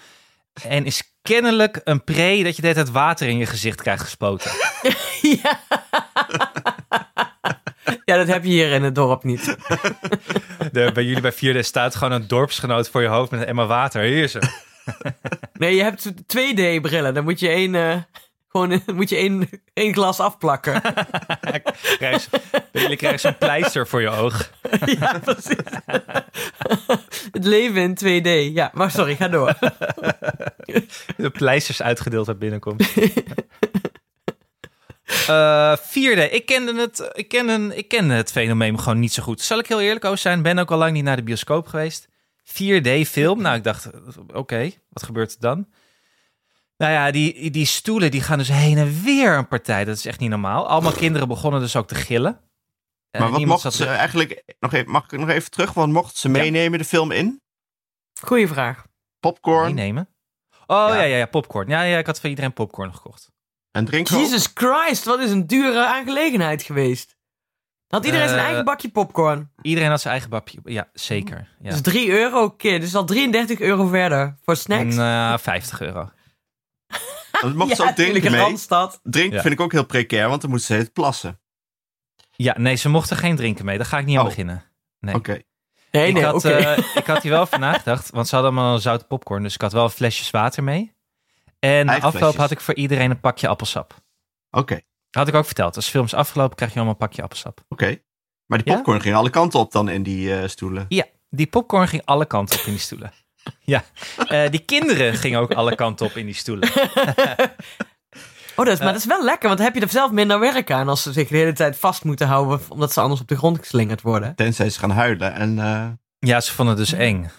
A: En is kennelijk een pre dat je de hele tijd water in je gezicht krijgt gespoten.
C: ja. ja, dat heb je hier in het dorp niet.
A: De- bij jullie bij 4D staat gewoon een dorpsgenoot voor je hoofd met een emmer water. Hier is hem.
C: Nee, je hebt 2D-brillen. Dan moet je één, eh, gewoon, eh, moet je één, één glas afplakken.
A: *laughs* Krijg je- jullie krijgen zo'n pleister voor je oog.
C: ja, precies. *laughs* het leven in 2D. Ja, maar sorry, ga door.
A: De pleisters uitgedeeld bij binnenkomst. Eh, vierde, ik kende, het, ik, kende, ik kende het fenomeen gewoon niet zo goed. Zal ik heel eerlijk over zijn, ben ook al lang niet naar de bioscoop geweest. 4D-film, nou ik dacht, oké, wat gebeurt er dan? Nou ja, die, die stoelen die gaan dus heen en weer een partij. Dat is echt niet normaal. Allemaal kinderen begonnen dus ook te gillen. Eh,
B: maar wat
A: niemand
B: mocht
A: zat-
B: ze eigenlijk... Nog even, mag ik nog even terug? Want mochten ze meenemen de film in?
C: Goeie vraag.
B: Popcorn
A: meenemen? Oh ja.
B: Ja.
A: Ja, ja, popcorn. Ja, ja, ik had voor iedereen popcorn gekocht.
B: en drinken? ook?
C: Jesus Christ, wat is een dure aangelegenheid geweest. Had iedereen zijn
A: Eh,
C: eigen bakje popcorn.
A: Iedereen had zijn eigen bakje. Ja, zeker. Ja.
C: Dus 3 euro, kid. Dus al 33 euro verder voor snacks.
A: Nou, 50 euro.
B: Want mochten ze ook
C: in de
B: drinken mee?
C: Randstad.
B: Drinken
A: Ja.
B: vind ik ook heel precair, want dan moeten ze het plassen.
A: Ja, nee, ze mochten geen drinken mee. Daar ga ik niet aan
B: Oh.
A: beginnen. Nee.
B: Oké.
C: Nee,
A: ik,
C: nee,
A: had,
C: oké.
A: eh, ik had hier wel van nagedacht, want ze hadden allemaal zout popcorn. Dus ik had wel flesjes water mee. En na
B: Eigen
A: afloop
B: flesjes.
A: had ik voor iedereen een pakje appelsap.
B: Oké.
A: Dat had ik ook verteld. Als de film is afgelopen, krijg je allemaal een pakje appelsap.
B: Oké. Maar die
A: Ja?
B: popcorn ging alle kanten op dan in die eh, stoelen.
A: Ja, die popcorn ging alle kanten op in die stoelen. *laughs* Ja, Eh, die kinderen gingen ook alle kanten op in die stoelen.
C: Oh, dat, is- maar dat is wel lekker, want dan heb je er zelf minder werk aan als ze zich de hele tijd vast moeten houden, omdat ze anders op de grond geslingerd worden.
B: Tenzij ze gaan huilen en... eh,
A: Ja, ze vonden het dus eng.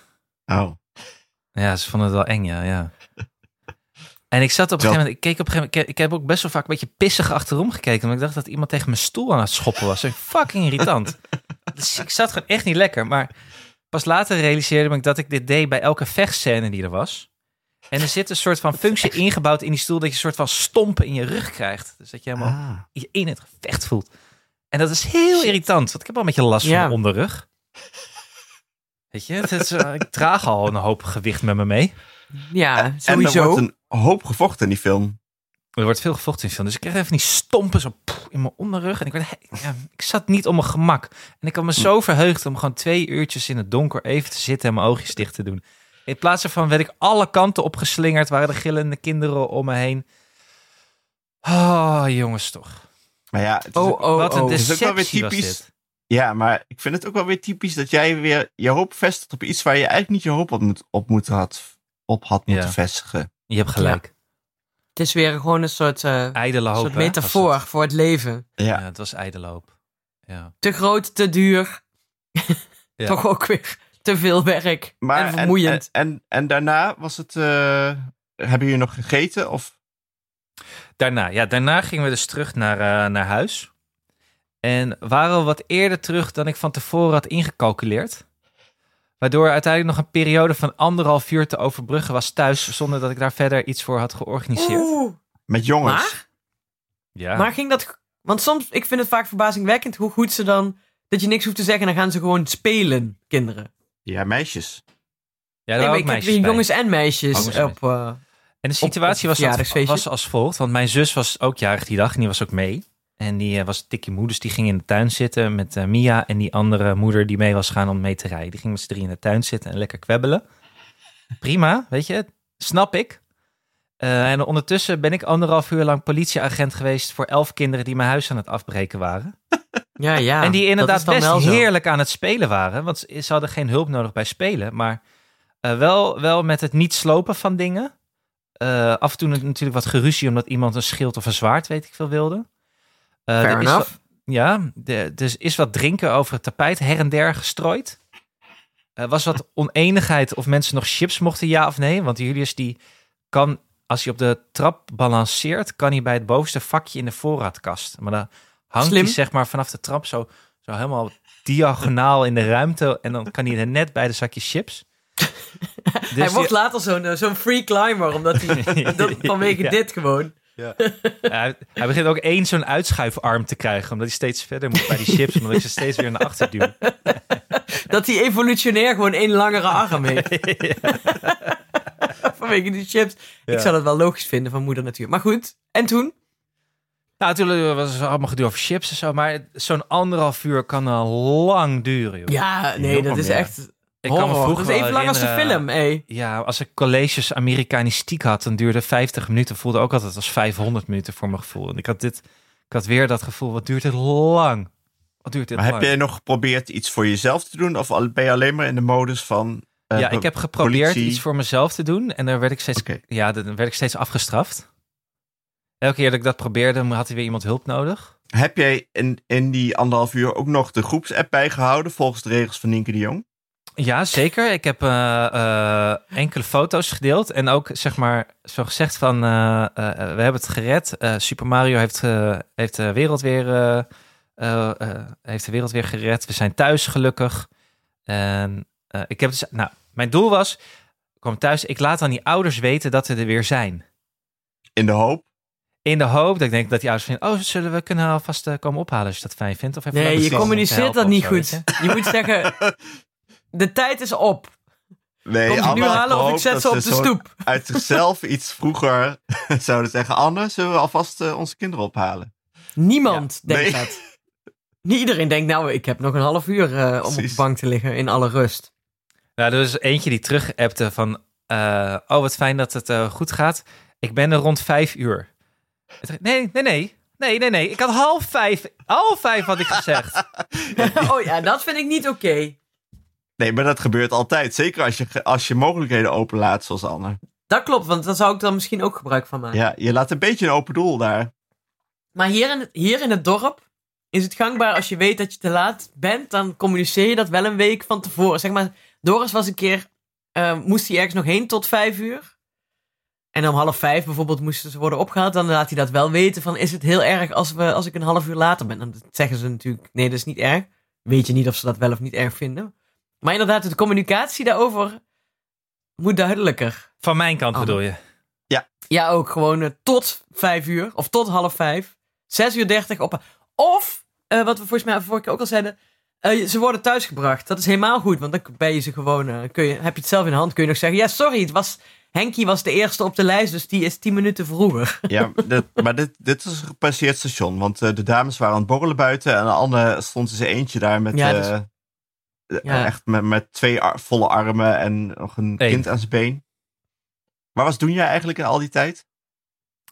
B: oh.
A: Ja, ze vonden het wel eng, ja. ja. En ik zat op een
B: Wel-
A: gegeven moment, ik keek op een gegeven moment, ik, ik heb ook best wel vaak een beetje pissig achterom gekeken, omdat ik dacht dat iemand tegen mijn stoel aan het schoppen was. Dat is fucking irritant. Dus ik zat gewoon echt niet lekker. Maar pas later realiseerde ik dat ik dit deed bij elke vechtscène die er was. En er zit een soort van functie ingebouwd in die stoel dat je een soort van stompen in je rug krijgt. Dus dat je helemaal
B: Ah.
A: je in het gevecht voelt. En dat is heel irritant, want ik heb al een beetje last van
C: Ja.
A: mijn onderrug. Weet je, het is, eh, ik draag al een hoop gewicht met me mee. Eh,
C: Ja,
B: En er
C: sowieso.
B: wordt een hoop gevochten in die film.
A: Er wordt veel gevochten in film. Dus ik kreeg even die stompen zo poeh, in mijn onderrug. En ik, werd, he- ja, ik zat niet op mijn gemak. En ik had me zo verheugd om gewoon twee uurtjes in het donker even te zitten en mijn oogjes dicht te doen. In plaats daarvan werd ik alle kanten opgeslingerd. Waren de gillende kinderen om me heen. Oh, jongens toch.
B: Maar ja, het is
C: Oh,
B: ook-
C: oh,
A: Wat een
C: oh.
B: is ook wel weer
A: deceptie was
B: typisch.
A: dit.
B: ja, maar ik vind het ook wel weer typisch dat jij weer je hoop vestigt op iets waar je eigenlijk niet je hoop op, moet, op, moet had, op had moeten
A: Ja.
B: vestigen.
A: Je hebt gelijk.
C: Het is weer gewoon een soort, eh,
A: Ijdele hoop.
C: soort
A: hè, was
C: metafoor
A: het.
C: voor het leven.
A: Ja.
B: Ja,
A: het was ijdele hoop. Ja.
C: Te groot, te duur.
A: Ja.
C: Toch ook weer te veel werk.
B: maar
C: en vermoeiend.
B: En, en, en daarna was het. eh, hebben jullie nog gegeten? Of
A: Daarna, ja, daarna gingen we dus terug naar, eh, naar huis. En waren we wat eerder terug dan ik van tevoren had ingecalculeerd. Waardoor uiteindelijk nog een periode van anderhalf uur te overbruggen was thuis. Zonder dat ik daar verder iets voor had georganiseerd.
C: Oeh,
B: Met jongens.
C: maar,
A: ja.
C: maar ging dat... Want soms, ik vind het vaak verbazingwekkend hoe goed ze dan... Dat je niks hoeft te zeggen en dan gaan ze gewoon spelen, kinderen.
B: Ja, meisjes.
A: ja, daar
C: Nee,
A: waren
C: maar
A: ook
C: ik heb
A: meisjes
C: hier
A: bij.
C: jongens en meisjes
A: Oh, jongens en
C: op... eh,
A: En de situatie
C: op
A: was, dat-
C: verjaardagsfeestje.
A: was als volgt. Want mijn zus was ook jarig die dag en die was ook mee. En die eh, was tikkie moeder, dus die ging in de tuin zitten met eh, Mia. En die andere moeder die mee was gaan om mee te rijden. Die ging met z'n drie in de tuin zitten en lekker kwebbelen. Prima, weet je. Snap ik. Eh, en ondertussen ben ik anderhalf uur lang politieagent geweest voor elf kinderen die mijn huis aan het afbreken waren.
C: ja, ja.
A: en die
C: dat
A: inderdaad
C: is dan
A: best
C: wel zo.
A: heerlijk aan het spelen waren. Want ze ze hadden geen hulp nodig bij spelen. Maar eh, wel, wel met het niet slopen van dingen. Eh, af en toe natuurlijk wat geruzie omdat iemand een schild of een zwaard, weet ik veel, wilde. Eh,
C: Fair
A: er is
C: enough.
A: wat- ja, de- dus is wat drinken over het tapijt her en der gestrooid. Er was wat oneenigheid of mensen nog chips mochten, ja of nee. Want Julius die kan, als hij op de trap balanceert, kan hij bij het bovenste vakje in de voorraadkast. Maar dan hangt
C: Slim.
A: hij zeg maar vanaf de trap zo, zo helemaal diagonaal in de ruimte. En dan kan hij er net bij de zakje
C: *laughs*
A: chips. Dus
C: Hij
A: die-
C: wordt later zo'n eh, zo'n free climber, omdat hij...
A: *laughs*
C: dat, vanwege
A: Ja.
C: dit gewoon.
A: Ja, hij- hij begint ook één zo'n uitschuifarm te krijgen, omdat hij steeds verder moet bij die chips, omdat ik ze steeds weer naar achter *laughs* duw.
C: Dat hij evolutionair gewoon één langere
A: *laughs*
C: arm heeft. *laughs* Vanwege die chips. Ik
A: Ja.
C: zou dat wel logisch vinden van moeder natuur. Maar goed, en toen?
A: Nou, natuurlijk was het allemaal gedoe over chips en zo, maar zo'n anderhalf uur kan al lang duren. Joh.
C: Ja, nee, dat is
B: ja.
C: echt
A: ik
C: horror.
A: kan me vroeger
C: dat
A: wel
C: is even lang als de
A: herinneren-
C: film, hé.
A: Ja, als ik colleges Amerikanistiek had, dan duurde 50 minuten. Voelde ook altijd als 500 minuten voor mijn gevoel. En ik had dit, ik had weer dat gevoel, wat duurt dit lang? Wat duurt dit
B: Maar heb
A: lang?
B: jij nog geprobeerd iets voor jezelf te doen? Of al- ben je alleen maar in de modus van... eh,
A: ja, ik heb geprobeerd
B: politie.
A: iets voor mezelf te doen en daar werd ik steeds,
B: Oké.
A: ja, dan werd ik steeds afgestraft. Elke keer dat ik dat probeerde, had hij weer iemand hulp nodig.
B: Heb jij in, in die anderhalf uur ook nog de groepsapp bijgehouden volgens de regels van Nienke de Jong?
A: Ja, zeker. Ik heb eh, eh, enkele foto's gedeeld en ook zeg maar zo gezegd van eh, eh, eh, we hebben het gered. Eh, Super Mario heeft, eh, heeft de wereld weer eh, eh, eh, heeft de wereld weer gered. We zijn thuis gelukkig. En eh, ik heb dus, nou, mijn doel was, ik kwam thuis. Ik laat aan die ouders weten dat ze er weer zijn.
B: In de hoop.
A: In de hoop dat ik denk dat die ouders vinden, oh, zullen we kunnen alvast eh, komen ophalen als je dat fijn vindt? Of even
C: Nee,
A: langs
C: je
A: komen om te
C: communiceert
A: helpen
C: dat
A: of
C: niet
A: zo,
C: goed.
A: weet je?
C: Je moet
A: *laughs*
C: zeggen, de tijd is op.
B: Nee,
C: Komt ze nu
B: allemaal
C: halen of
B: hoop
C: ik zet
B: dat
C: ze op de
B: zo
C: stoep.
B: Uit zichzelf iets vroeger *laughs* zouden zeggen... Anne, zullen we alvast eh, onze kinderen ophalen?
C: Niemand denkt
B: Nee.
C: dat. Niet iedereen denkt, nou, ik heb nog een half uur eh, om op de
B: Precies.
C: bank te liggen in alle rust.
A: Nou, er was eentje die terug appte van, eh, oh, wat fijn dat het eh, goed gaat. Ik ben er rond vijf uur. Ik dacht, Nee, nee, nee. Nee, nee, nee. Ik had half vijf. Half vijf had ik
B: *laughs*
A: gezegd.
C: *laughs* oh ja, dat vind ik niet oké.
B: Nee, maar dat gebeurt altijd. Zeker als je, ge- als je mogelijkheden openlaat, zoals Anne.
C: Dat klopt, want daar zou ik dan misschien ook gebruik van maken.
B: Ja, je laat een beetje een open doel daar.
C: Maar hier in, het- hier in het dorp is het gangbaar als je weet dat je te laat bent, dan communiceer je dat wel een week van tevoren. Zeg maar, Doris was een keer, eh, moest hij ergens nog heen tot vijf uur. En om half vijf bijvoorbeeld moesten ze worden opgehaald. Dan laat hij dat wel weten van, is het heel erg als, we, als ik een half uur later ben? Dan zeggen ze natuurlijk, nee, dat is niet erg. Weet je niet of ze dat wel of niet erg vinden. Maar inderdaad, de communicatie daarover moet duidelijker.
A: Van mijn kant
C: Oh.
A: bedoel je.
C: Ja, ook gewoon eh, tot vijf uur of tot half vijf. Zes uur dertig op. Of, eh, wat we volgens mij vorige keer ook al zeiden, eh, ze worden thuisgebracht. Dat is helemaal goed, want dan ben je ze gewoon, eh, kun je, heb je het zelf in de hand, kun je nog zeggen, ja sorry, het was, Henkie was de eerste op de lijst, dus die is tien minuten vroeger. *laughs*
B: Ja, dit- maar dit, dit is een gepasseerd station. Want eh, de dames waren aan het borrelen buiten. En Anne stond in zijn eentje daar met,
C: Ja, dus-
B: eh, eh,
C: Ja.
B: echt met, met twee ar- volle armen en nog een
A: Eén.
B: kind aan zijn been. Maar wat doen jij eigenlijk in al die tijd?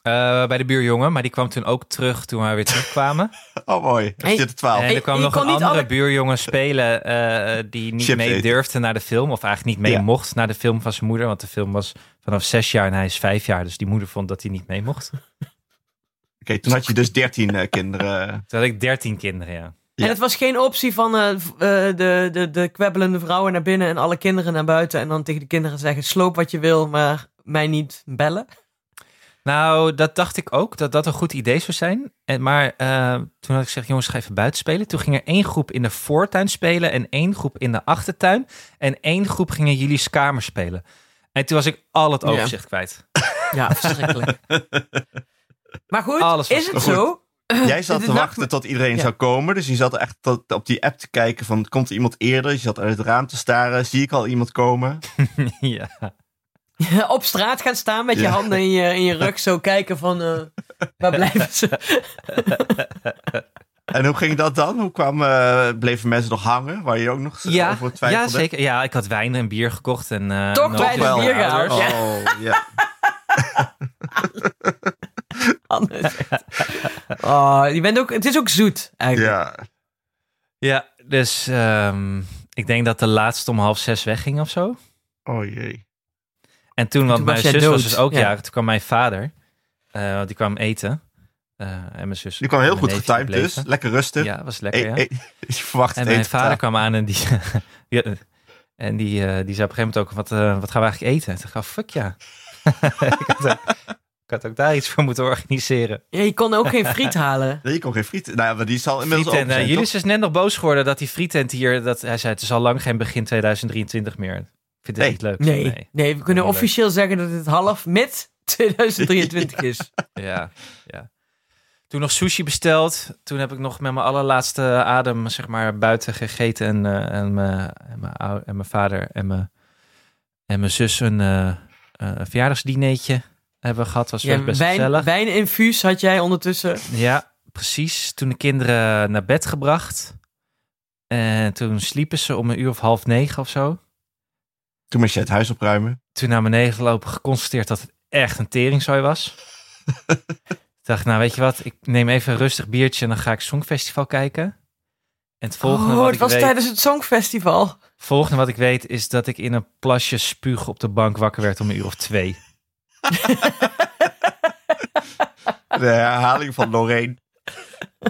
A: Eh, bij de buurjongen, maar die kwam toen ook terug toen we weer terugkwamen.
B: *laughs* Oh mooi,
C: Hey.
B: heb je de twaalf.
A: En er kwam
C: je
A: nog
C: kon
A: een
C: niet
A: andere
C: alle-
A: buurjongen spelen eh, die niet
B: Chips
A: mee
B: eten.
A: durfde naar de film. Of eigenlijk niet mee
B: Ja.
A: mocht naar de film van zijn moeder. Want de film was vanaf zes jaar en hij is vijf jaar. Dus die moeder vond dat hij niet mee mocht.
B: Oké, toen had je dus dertien kinderen.
A: Toen had ik dertien kinderen, ja.
B: Ja.
C: En het was geen optie van eh, v- eh, de, de, de kwebbelende vrouwen naar binnen en alle kinderen naar buiten en dan tegen de kinderen zeggen, sloop wat je wil, maar mij niet bellen.
A: Nou, dat dacht ik ook, dat dat een goed idee zou zijn. En, maar eh, toen had ik gezegd, jongens, ga even buiten spelen. Toen ging er één groep in de voortuin spelen en één groep in de achtertuin. En één groep ging in jullie kamer spelen. En toen was ik al het
C: Ja.
A: overzicht kwijt. *laughs*
C: Ja, *laughs* verschrikkelijk. Maar goed,
A: Alles was
C: is het
B: goed.
C: zo?
A: *laughs*
B: Jij zat
C: Dit
B: te
C: is
B: wachten
C: nacht-
B: tot iedereen
C: Ja.
B: zou komen. Dus je zat echt tot- op die app te kijken van, komt er iemand eerder? Je zat uit het raam te staren. Zie ik al iemand
A: *laughs*
B: komen?
A: ja.
C: *laughs* Op straat gaan staan met je
B: Ja.
C: handen in je, in je rug, zo kijken van eh, waar blijven
A: *laughs*
C: ze?
B: En hoe ging dat dan? Hoe kwam, eh, bleven mensen nog hangen? Waar je ook nog z-
A: Ja,
B: over twijfelde?
A: ja, zeker. Ja, ik had wijn en bier gekocht. En, eh,
C: Toch
A: noten
C: wijn en
A: voor
C: bier
A: mijn
C: gehaald,
A: ouders.
C: ja.
B: Oh,
A: *laughs*
B: ja.
C: Anne zegt. Oh, je bent ook, het is ook zoet eigenlijk.
B: ja.
A: Ja, dus ehm, ik denk dat de laatste om half zes wegging of zo.
B: Oh jee.
A: En toen, want
C: Toen
A: mijn
C: was jij
A: zus
C: dood,
A: was dus ook
C: ja.
A: jarig, toen kwam mijn vader. eh, want die kwam eten. Eh, en mijn zus.
B: Die kwam heel
A: en mijn
B: goed
A: neefje
B: getimed dus.
A: bleven.
B: Lekker rustig.
A: Ja, was lekker.
B: Eén-
A: ja.
B: één- *laughs* je verwacht
A: En
B: het
A: mijn
B: eten
A: vader
B: te-
A: kwam aan en die, *laughs* die, en die, eh, die zei op een gegeven moment ook, wat, eh, wat gaan we eigenlijk eten? En toen dacht ik, oh, fuck ja. *laughs* ik, had, ook- ik had ook daar iets voor moeten organiseren.
C: Ja, je kon ook geen
A: *laughs*
C: friet halen.
B: Nee, je kon geen friet. Nou ja, maar die zal inmiddels
A: Frieten,
B: open
A: en eh,
B: zijn,
A: jullie
B: toch?
A: is dus net nog boos geworden dat die frietent hier, dat, hij zei het is al lang geen begin 2023 meer. Ik vind het
B: Nee.
A: niet leuk.
C: Nee, nee, we kunnen
A: Niet leuk.
C: officieel zeggen dat het half
A: *laughs*
C: mid 2023 is.
A: Ja, ja. Toen nog sushi besteld. Toen heb ik nog met mijn allerlaatste adem, zeg maar, buiten gegeten. En, eh, en, mijn, en, mijn, ou- en mijn vader en mijn, en mijn zus een, eh, eh, een verjaardagsdineetje hebben we gehad. Was
C: Ja,
A: best
C: wijn,
A: gezellig.
C: wijninfuus had jij ondertussen.
A: Ja, precies. Toen de kinderen naar bed gebracht. En toen sliepen ze om een uur of half negen of zo.
B: Toen moest je het huis opruimen.
A: toen naar beneden gelopen, geconstateerd dat het echt een teringzooi was. Toen dacht ik, nou weet je wat, ik neem even een rustig biertje en dan ga ik Songfestival kijken. En het volgende,
C: oh,
A: wat,
C: het
A: ik
C: was
A: weet,
C: tijdens het Songfestival.
A: volgende wat ik weet is dat ik in een plasje spuug op de bank wakker werd om een uur of
C: *laughs*
A: twee.
B: De herhaling
A: *laughs*
B: van Lorraine.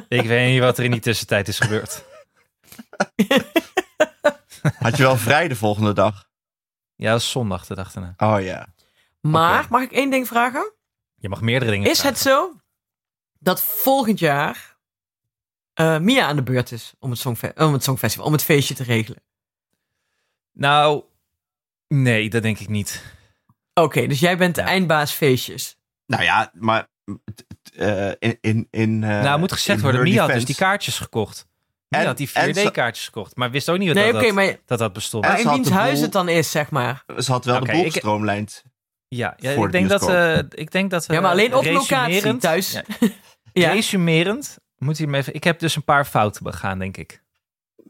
A: Ik weet niet wat er in die tussentijd is gebeurd.
B: Had je wel vrij de volgende dag?
A: Ja, dat was zondag de dag daarna.
B: Oh ja.
C: Maar,
B: Oké.
C: mag ik één ding vragen?
A: Je mag meerdere dingen
C: Is het
A: vragen.
C: zo dat volgend jaar eh, Mia aan de beurt is om het, songfe- om het Songfestival, om het feestje te regelen?
A: Nou, nee, dat denk ik niet.
C: Oké, dus jij bent de
A: Ja.
C: eindbaas feestjes.
B: Nou ja, maar t- t- eh, in... in, in eh,
A: nou, moet gezegd
B: in
A: worden,
B: her
A: Mia had dus
B: defense-
A: die kaartjes gekocht. Mia
B: En-
A: had die
B: en ze-
A: 4D-kaartjes gekocht, maar wist ook niet
C: Nee,
A: dat,
C: oké,
A: dat,
C: maar,
A: dat dat bestond.
B: En
C: maar
B: ze
C: in
B: had
C: wiens
B: de
C: huis
B: boel-
C: het dan is, zeg maar.
B: Ze had wel
A: Oké,
B: de boel
A: ik-
B: gestroomlijnd.
A: Ja, ja
B: voor
A: ik,
B: de
A: denk dat,
B: bioscoop.
A: eh, ik denk dat we.
C: Ja, maar alleen op locatie
A: resumerend-
C: thuis.
A: Ja,
C: Ja. *laughs* Ja.
A: ja. Resumerend moet hij hem even. Ik heb dus een paar fouten begaan, denk ik.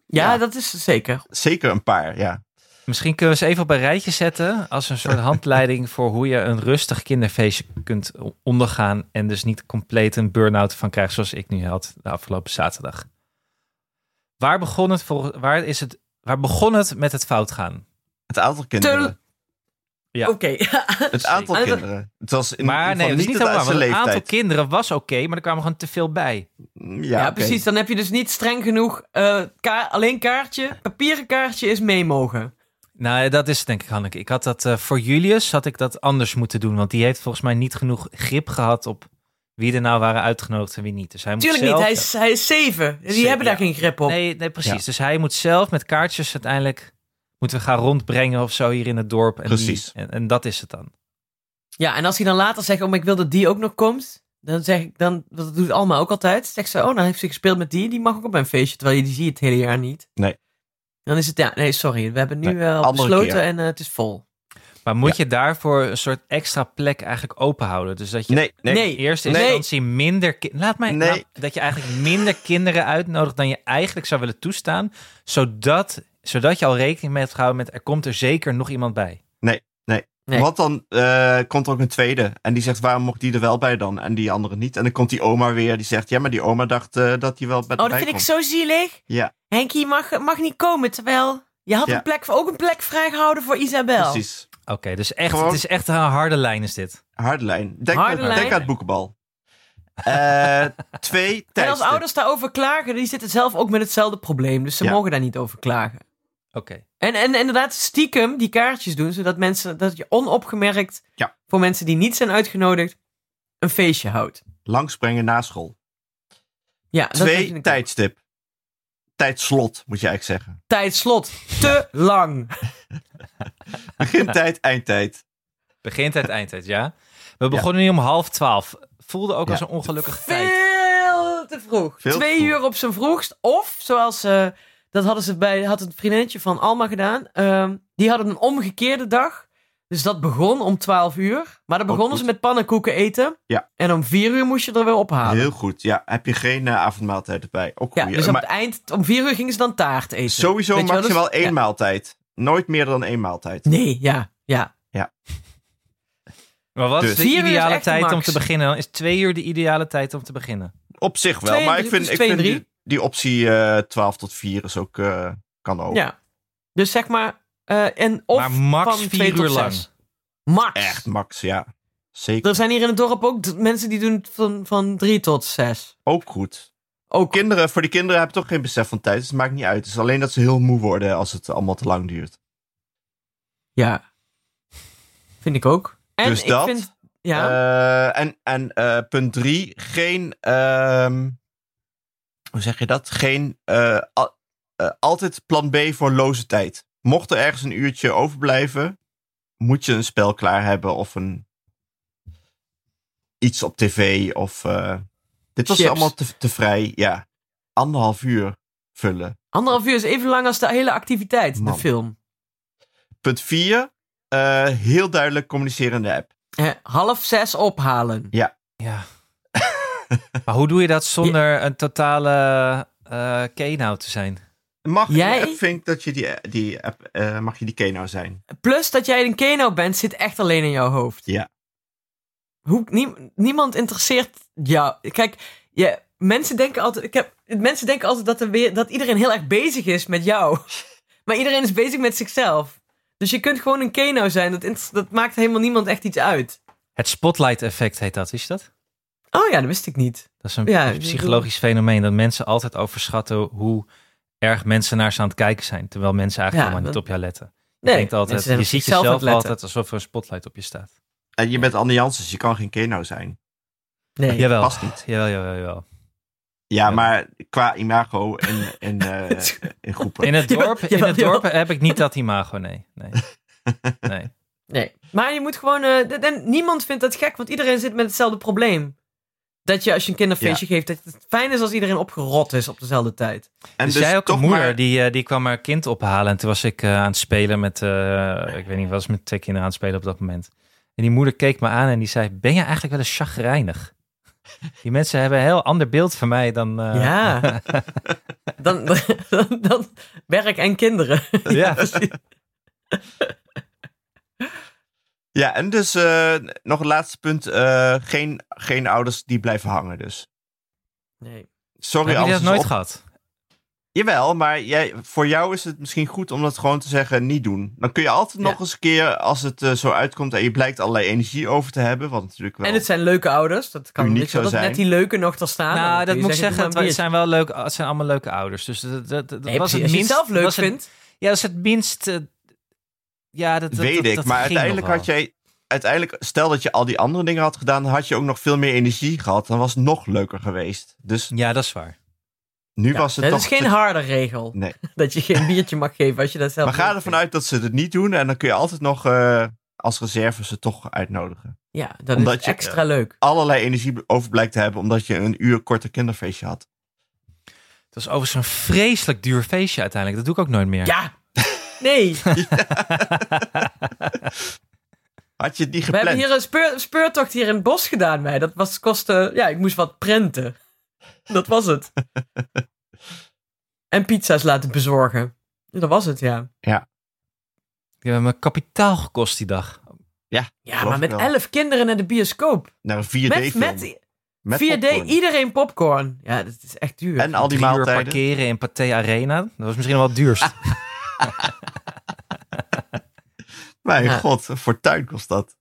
B: Ja.
C: dat is zeker.
B: Zeker een paar, ja.
A: Misschien kunnen we ze even op een rijtje zetten. Als een
B: *laughs*
A: soort handleiding voor hoe je een rustig kinderfeestje kunt ondergaan. En dus niet compleet een burn-out van krijgt, zoals ik nu had de afgelopen zaterdag. Waar begon het, vol, waar is het, waar begon het met het fout gaan?
B: Het aantal kinderen.
A: Ja.
C: Oké. *laughs*
B: Het aantal
C: Zeker.
B: kinderen. Het was in ieder
A: Maar
B: geval
A: nee, dat is niet
B: het
A: helemaal.
B: aan
A: Want
B: zijn
A: een aantal
B: leeftijd. Mm,
A: kinderen was oké, maar er kwamen gewoon te veel bij.
B: Ja,
C: Ja,
B: oké.
C: precies. Dan heb je dus niet streng genoeg. eh, ka- alleen kaartje, papieren kaartje is mee mogen.
A: Nou, dat is het denk ik, Hanneke. Ik had dat eh, voor Julius had ik dat anders moeten doen, want die heeft volgens mij niet genoeg grip gehad op wie er nou waren uitgenodigd en wie niet. Dus hij moet
C: Tuurlijk
A: zelf...
C: niet, hij is, hij is zeven. Die
A: Zeven,
C: hebben daar
A: ja.
C: geen grip op.
A: Nee, nee, precies.
B: Ja.
A: Dus hij moet zelf met kaartjes uiteindelijk moeten we gaan rondbrengen of zo hier in het dorp. En
B: Precies.
A: die- en, en dat is het dan.
C: Ja, en als hij dan later zegt, oh, maar ik wil dat die ook nog komt. Dan zeg ik, dan, want dat doet Alma ook altijd. Zegt ze, oh, dan heeft ze gespeeld met die. Die mag ook op mijn feestje, terwijl je die zie je het hele jaar niet.
B: Nee.
C: Dan is het, ja, nee, sorry. We hebben nu
B: Nee,
C: eh, al
B: andere
C: besloten
B: keer.
C: en eh, het is vol.
A: Maar moet je daarvoor een soort extra plek eigenlijk openhouden? Dus dat je
B: Nee, nee.
A: in
C: Nee,
A: eerste
C: Nee.
A: instantie minder... ki- Laat mij...
B: Nee.
A: nou, dat je eigenlijk minder kinderen uitnodigt dan je eigenlijk zou willen toestaan. Zodat, zodat je al rekening mee hebt gehouden met... Er komt er zeker nog iemand bij.
C: Nee.
B: Want dan eh, komt er ook een tweede. En die zegt, waarom mocht die er wel bij dan? En die andere niet. En dan komt die oma weer. Die zegt, ja, maar die oma dacht eh, dat die wel bij
C: Oh, dat
B: bij
C: vind
B: komt.
C: ik zo zielig.
B: Ja.
C: Henkie mag, mag niet komen, terwijl je had
B: Ja.
C: een plek, ook een plek vrijgehouden voor Isabel.
B: Precies.
A: Oké, dus echt,
B: Gewoon-
A: het is echt een harde lijn is dit.
B: Hardlijn. Denk,
C: Harde
B: denk
C: lijn.
B: aan het boekenbal. Eh, *laughs* twee
C: En als
B: tijdstip.
C: ouders daarover klagen, die zitten zelf ook met hetzelfde probleem. Dus ze
B: Ja.
C: mogen daar niet over klagen.
A: Oké.
C: En, en inderdaad, stiekem die kaartjes doen, zodat mensen, dat je onopgemerkt
B: Ja.
C: voor mensen die niet zijn uitgenodigd, een feestje houdt.
B: Langsbrengen na school.
C: Ja, dat vind
B: Twee
C: ik-
B: tijdstip. Tijdslot, moet je eigenlijk zeggen.
C: Tijdslot. Te
B: *laughs*
C: lang. *laughs*
B: Begintijd, eindtijd.
A: Begintijd, eindtijd, ja. We begonnen nu om half twaalf. Voelde ook
B: Ja.
A: als een ongelukkige tijd.
C: Veel te vroeg.
B: Veel te
C: Twee
B: vroeg.
C: uur op zijn vroegst. Of zoals eh, dat hadden ze bij had het vriendinnetje van Alma gedaan. ehm, die hadden een omgekeerde dag. Dus dat begon om 12 uur. Maar dan
B: Ook
C: begonnen
B: Oh, goed.
C: ze met pannenkoeken eten.
B: Ja.
C: En om vier uur moest je er weer ophalen.
B: Heel goed. Ja, heb je geen eh, avondmaaltijd erbij. Ook
C: Ah, ja,
B: goeie.
C: dus aan
B: Maar
C: het eind, om vier uur gingen ze dan taart eten.
B: sowieso
C: Weet je wel, dus-
B: maximaal één
C: ja.
B: maaltijd. Nooit meer dan één maaltijd.
C: Nee, ja, ja.
A: Maar wat
B: Dus-
A: is de
C: Vier uur is
A: ideale
C: echt de
A: tijd om
C: max.
A: te beginnen? Dan is twee uur de ideale tijd om te beginnen.
B: Op zich wel,
C: Twee en
B: maar
C: drie,
B: ik vind,
C: dus
B: ik
C: twee en
B: vind die,
C: drie.
B: die optie eh 12 tot 4 is ook, eh, kan ook.
C: ja. Dus zeg maar... eh, en of
A: maar max
C: van twee
A: vier
C: tot
A: uur lang.
C: zes. Max.
B: Echt max, ja. Zeker.
C: Er zijn hier in het dorp ook d- mensen die doen het van, van drie tot zes.
B: Ook goed.
C: Ook
B: Kinderen, voor die kinderen hebben toch geen besef van tijd, dus het maakt niet uit. Het is alleen dat ze heel moe worden als het allemaal te lang duurt.
C: Ja. Vind ik ook. En
B: Dus
C: ik
B: dat,
C: vind... Ja,
B: Eh, en en eh, punt drie, geen. ehm, hoe zeg je dat? Geen. eh, al- eh, altijd plan B voor loze tijd. Mocht er ergens een uurtje overblijven, moet je een spel klaar hebben of een. iets op tv of. eh, dit was
C: Chips.
B: allemaal te, te vrij, ja. Anderhalf uur vullen.
C: anderhalf uur is even lang als de hele activiteit,
B: Man.
C: de film.
B: Punt 4. heel duidelijk communiceren in de app.
C: Eh, half zes ophalen.
A: Ja. *laughs* maar hoe doe je dat zonder een totale eh keynote te zijn?
B: Mag
C: Jij-
B: ik vind dat je die, die app, eh, mag je die Keno zijn?
C: Plus dat jij een keno bent, zit echt alleen in jouw hoofd.
B: Ja.
C: Hoe, nie- niemand interesseert jou. Kijk, je, mensen, denken altijd, ik heb, mensen denken altijd dat, er weer, dat iedereen heel erg bezig is met jou. *laughs* Maar iedereen is bezig met zichzelf. Dus je kunt gewoon een keno zijn. Dat, inter- dat maakt helemaal niemand echt iets uit.
A: Het spotlight effect heet dat, is dat?
C: Oh ja, dat wist ik niet.
A: Dat is een
C: Ja,
A: een psychologisch fenomeen dat mensen altijd overschatten hoe erg mensen naar ze aan het kijken zijn, terwijl mensen eigenlijk
C: Ja,
A: helemaal
C: dat-
A: niet op jou letten. Je
C: Nee,
A: denkt altijd,
C: mensen zijn
A: je
C: op
A: ziet
C: zichzelf aan
A: jezelf
C: het letten.
A: altijd alsof er een spotlight op je staat.
B: En je bent Anne dus je kan geen Keno zijn.
C: Nee.
A: Jawel.
B: Past niet.
A: Jawel, jawel,
C: *laughs*
A: jawel.
B: Ja,
A: Ja.
B: maar qua imago in, in, eh, in groepen.
A: In het
C: Jawel,
A: dorp, in
C: jawel,
A: het
C: jawel.
A: dorp heb ik niet dat imago, nee.
C: *laughs*
A: Nee. nee.
C: Nee. Maar je moet gewoon. eh, d- en niemand vindt dat gek, want iedereen zit met hetzelfde probleem. Dat je als je een kinderfeestje geeft, dat het fijn is als iedereen opgerot is op dezelfde tijd.
B: en
A: dus, jij ook een
B: toch
A: moeder,
B: maar-
A: die, eh, die kwam haar kind ophalen. En toen was ik eh, aan het spelen met, eh, ik weet niet, was met twee kinderen nou aan het spelen op dat moment. En die moeder keek me aan en die zei, ben je eigenlijk wel eens chagrijnig? *laughs* Die mensen hebben een heel ander beeld van mij dan... eh,
C: Ja.
B: *laughs*
C: dan, *laughs* dan, dan werk en kinderen.
A: *laughs*
C: *laughs*
A: ja.
B: Ja, en dus eh, nog een laatste punt. eh, geen, geen ouders die blijven hangen dus.
C: Nee.
B: Sorry
A: Heb je
B: alles
A: dat
B: is
A: nooit
B: op-
A: gehad?
B: Jawel, maar jij, voor jou is het misschien goed om dat gewoon te zeggen, niet doen. Dan kun je altijd
C: Ja.
B: nog eens een keer, als het eh, zo uitkomt en je blijkt allerlei energie over te hebben, wat natuurlijk wel...
C: En het zijn leuke ouders. Dat kan
B: Uniek
C: niet zo
B: zou
C: dat
B: zijn.
C: net die leuke nog er staan. Dan
A: nou,
C: kun
A: dat
C: je
A: moet ik zeggen,
C: doe
A: het,
C: maar een
A: zijn wel leuk, het zijn allemaal leuke ouders. Dus dat, dat, dat
C: biertje. Nee,
A: was het
C: precies. Als je het
A: minst...
C: zelf leuk
A: was het-
C: vindt.
A: ja, dat is het minst... eh, ja, dat, dat
B: Weet
A: dat-
B: ik,
A: dat
B: maar
A: ging nog
B: uiteindelijk
A: wel.
B: had jij... Uiteindelijk, stel dat je al die andere dingen had gedaan, dan had je ook nog veel meer energie gehad. Dan was het nog leuker geweest. Dus
A: Ja, dat is waar.
B: nu
C: Ja,
B: was het
C: dat
B: toch...
C: is geen harde regel. *laughs*
B: Nee.
C: Dat je geen biertje mag geven als je dat zelf
B: Maar ga
C: leuk
B: ervan
C: vindt.
B: uit dat ze het niet doen en dan kun je altijd nog eh, als reserve ze toch uitnodigen.
C: Ja, dat
B: Omdat
C: is het
B: je-
C: extra leuk.
B: Allerlei energie over blijkt te hebben omdat je een uur korter kinderfeestje had.
A: Het was overigens een vreselijk duur feestje uiteindelijk. Dat doe ik ook nooit meer.
C: Ja!
B: *laughs*
C: Nee!
B: Had je het niet
C: We hebben
B: gepland?
C: hier een speur- speurtocht hier in het bos gedaan, mij. Dat was, kostte, ja, ik moest wat prenten. *laughs* Dat was
B: *laughs*
C: het. en pizza's laten bezorgen. Ja, Dat was het, ja.
A: Die hebben me kapitaal gekost die dag.
C: Ja,
B: Geloof
C: maar
B: ik wel.
C: met elf kinderen naar de bioscoop.
B: Naar een 4D-film.
C: Met, met, 4D, iedereen popcorn. Ja, dat is echt duur.
B: En al die
A: Drie uur
B: maaltijden.
A: parkeren in Pathé Arena. Dat was misschien wel het duurst.
B: Mijn
C: Ja.
B: god, een fortuin kost dat.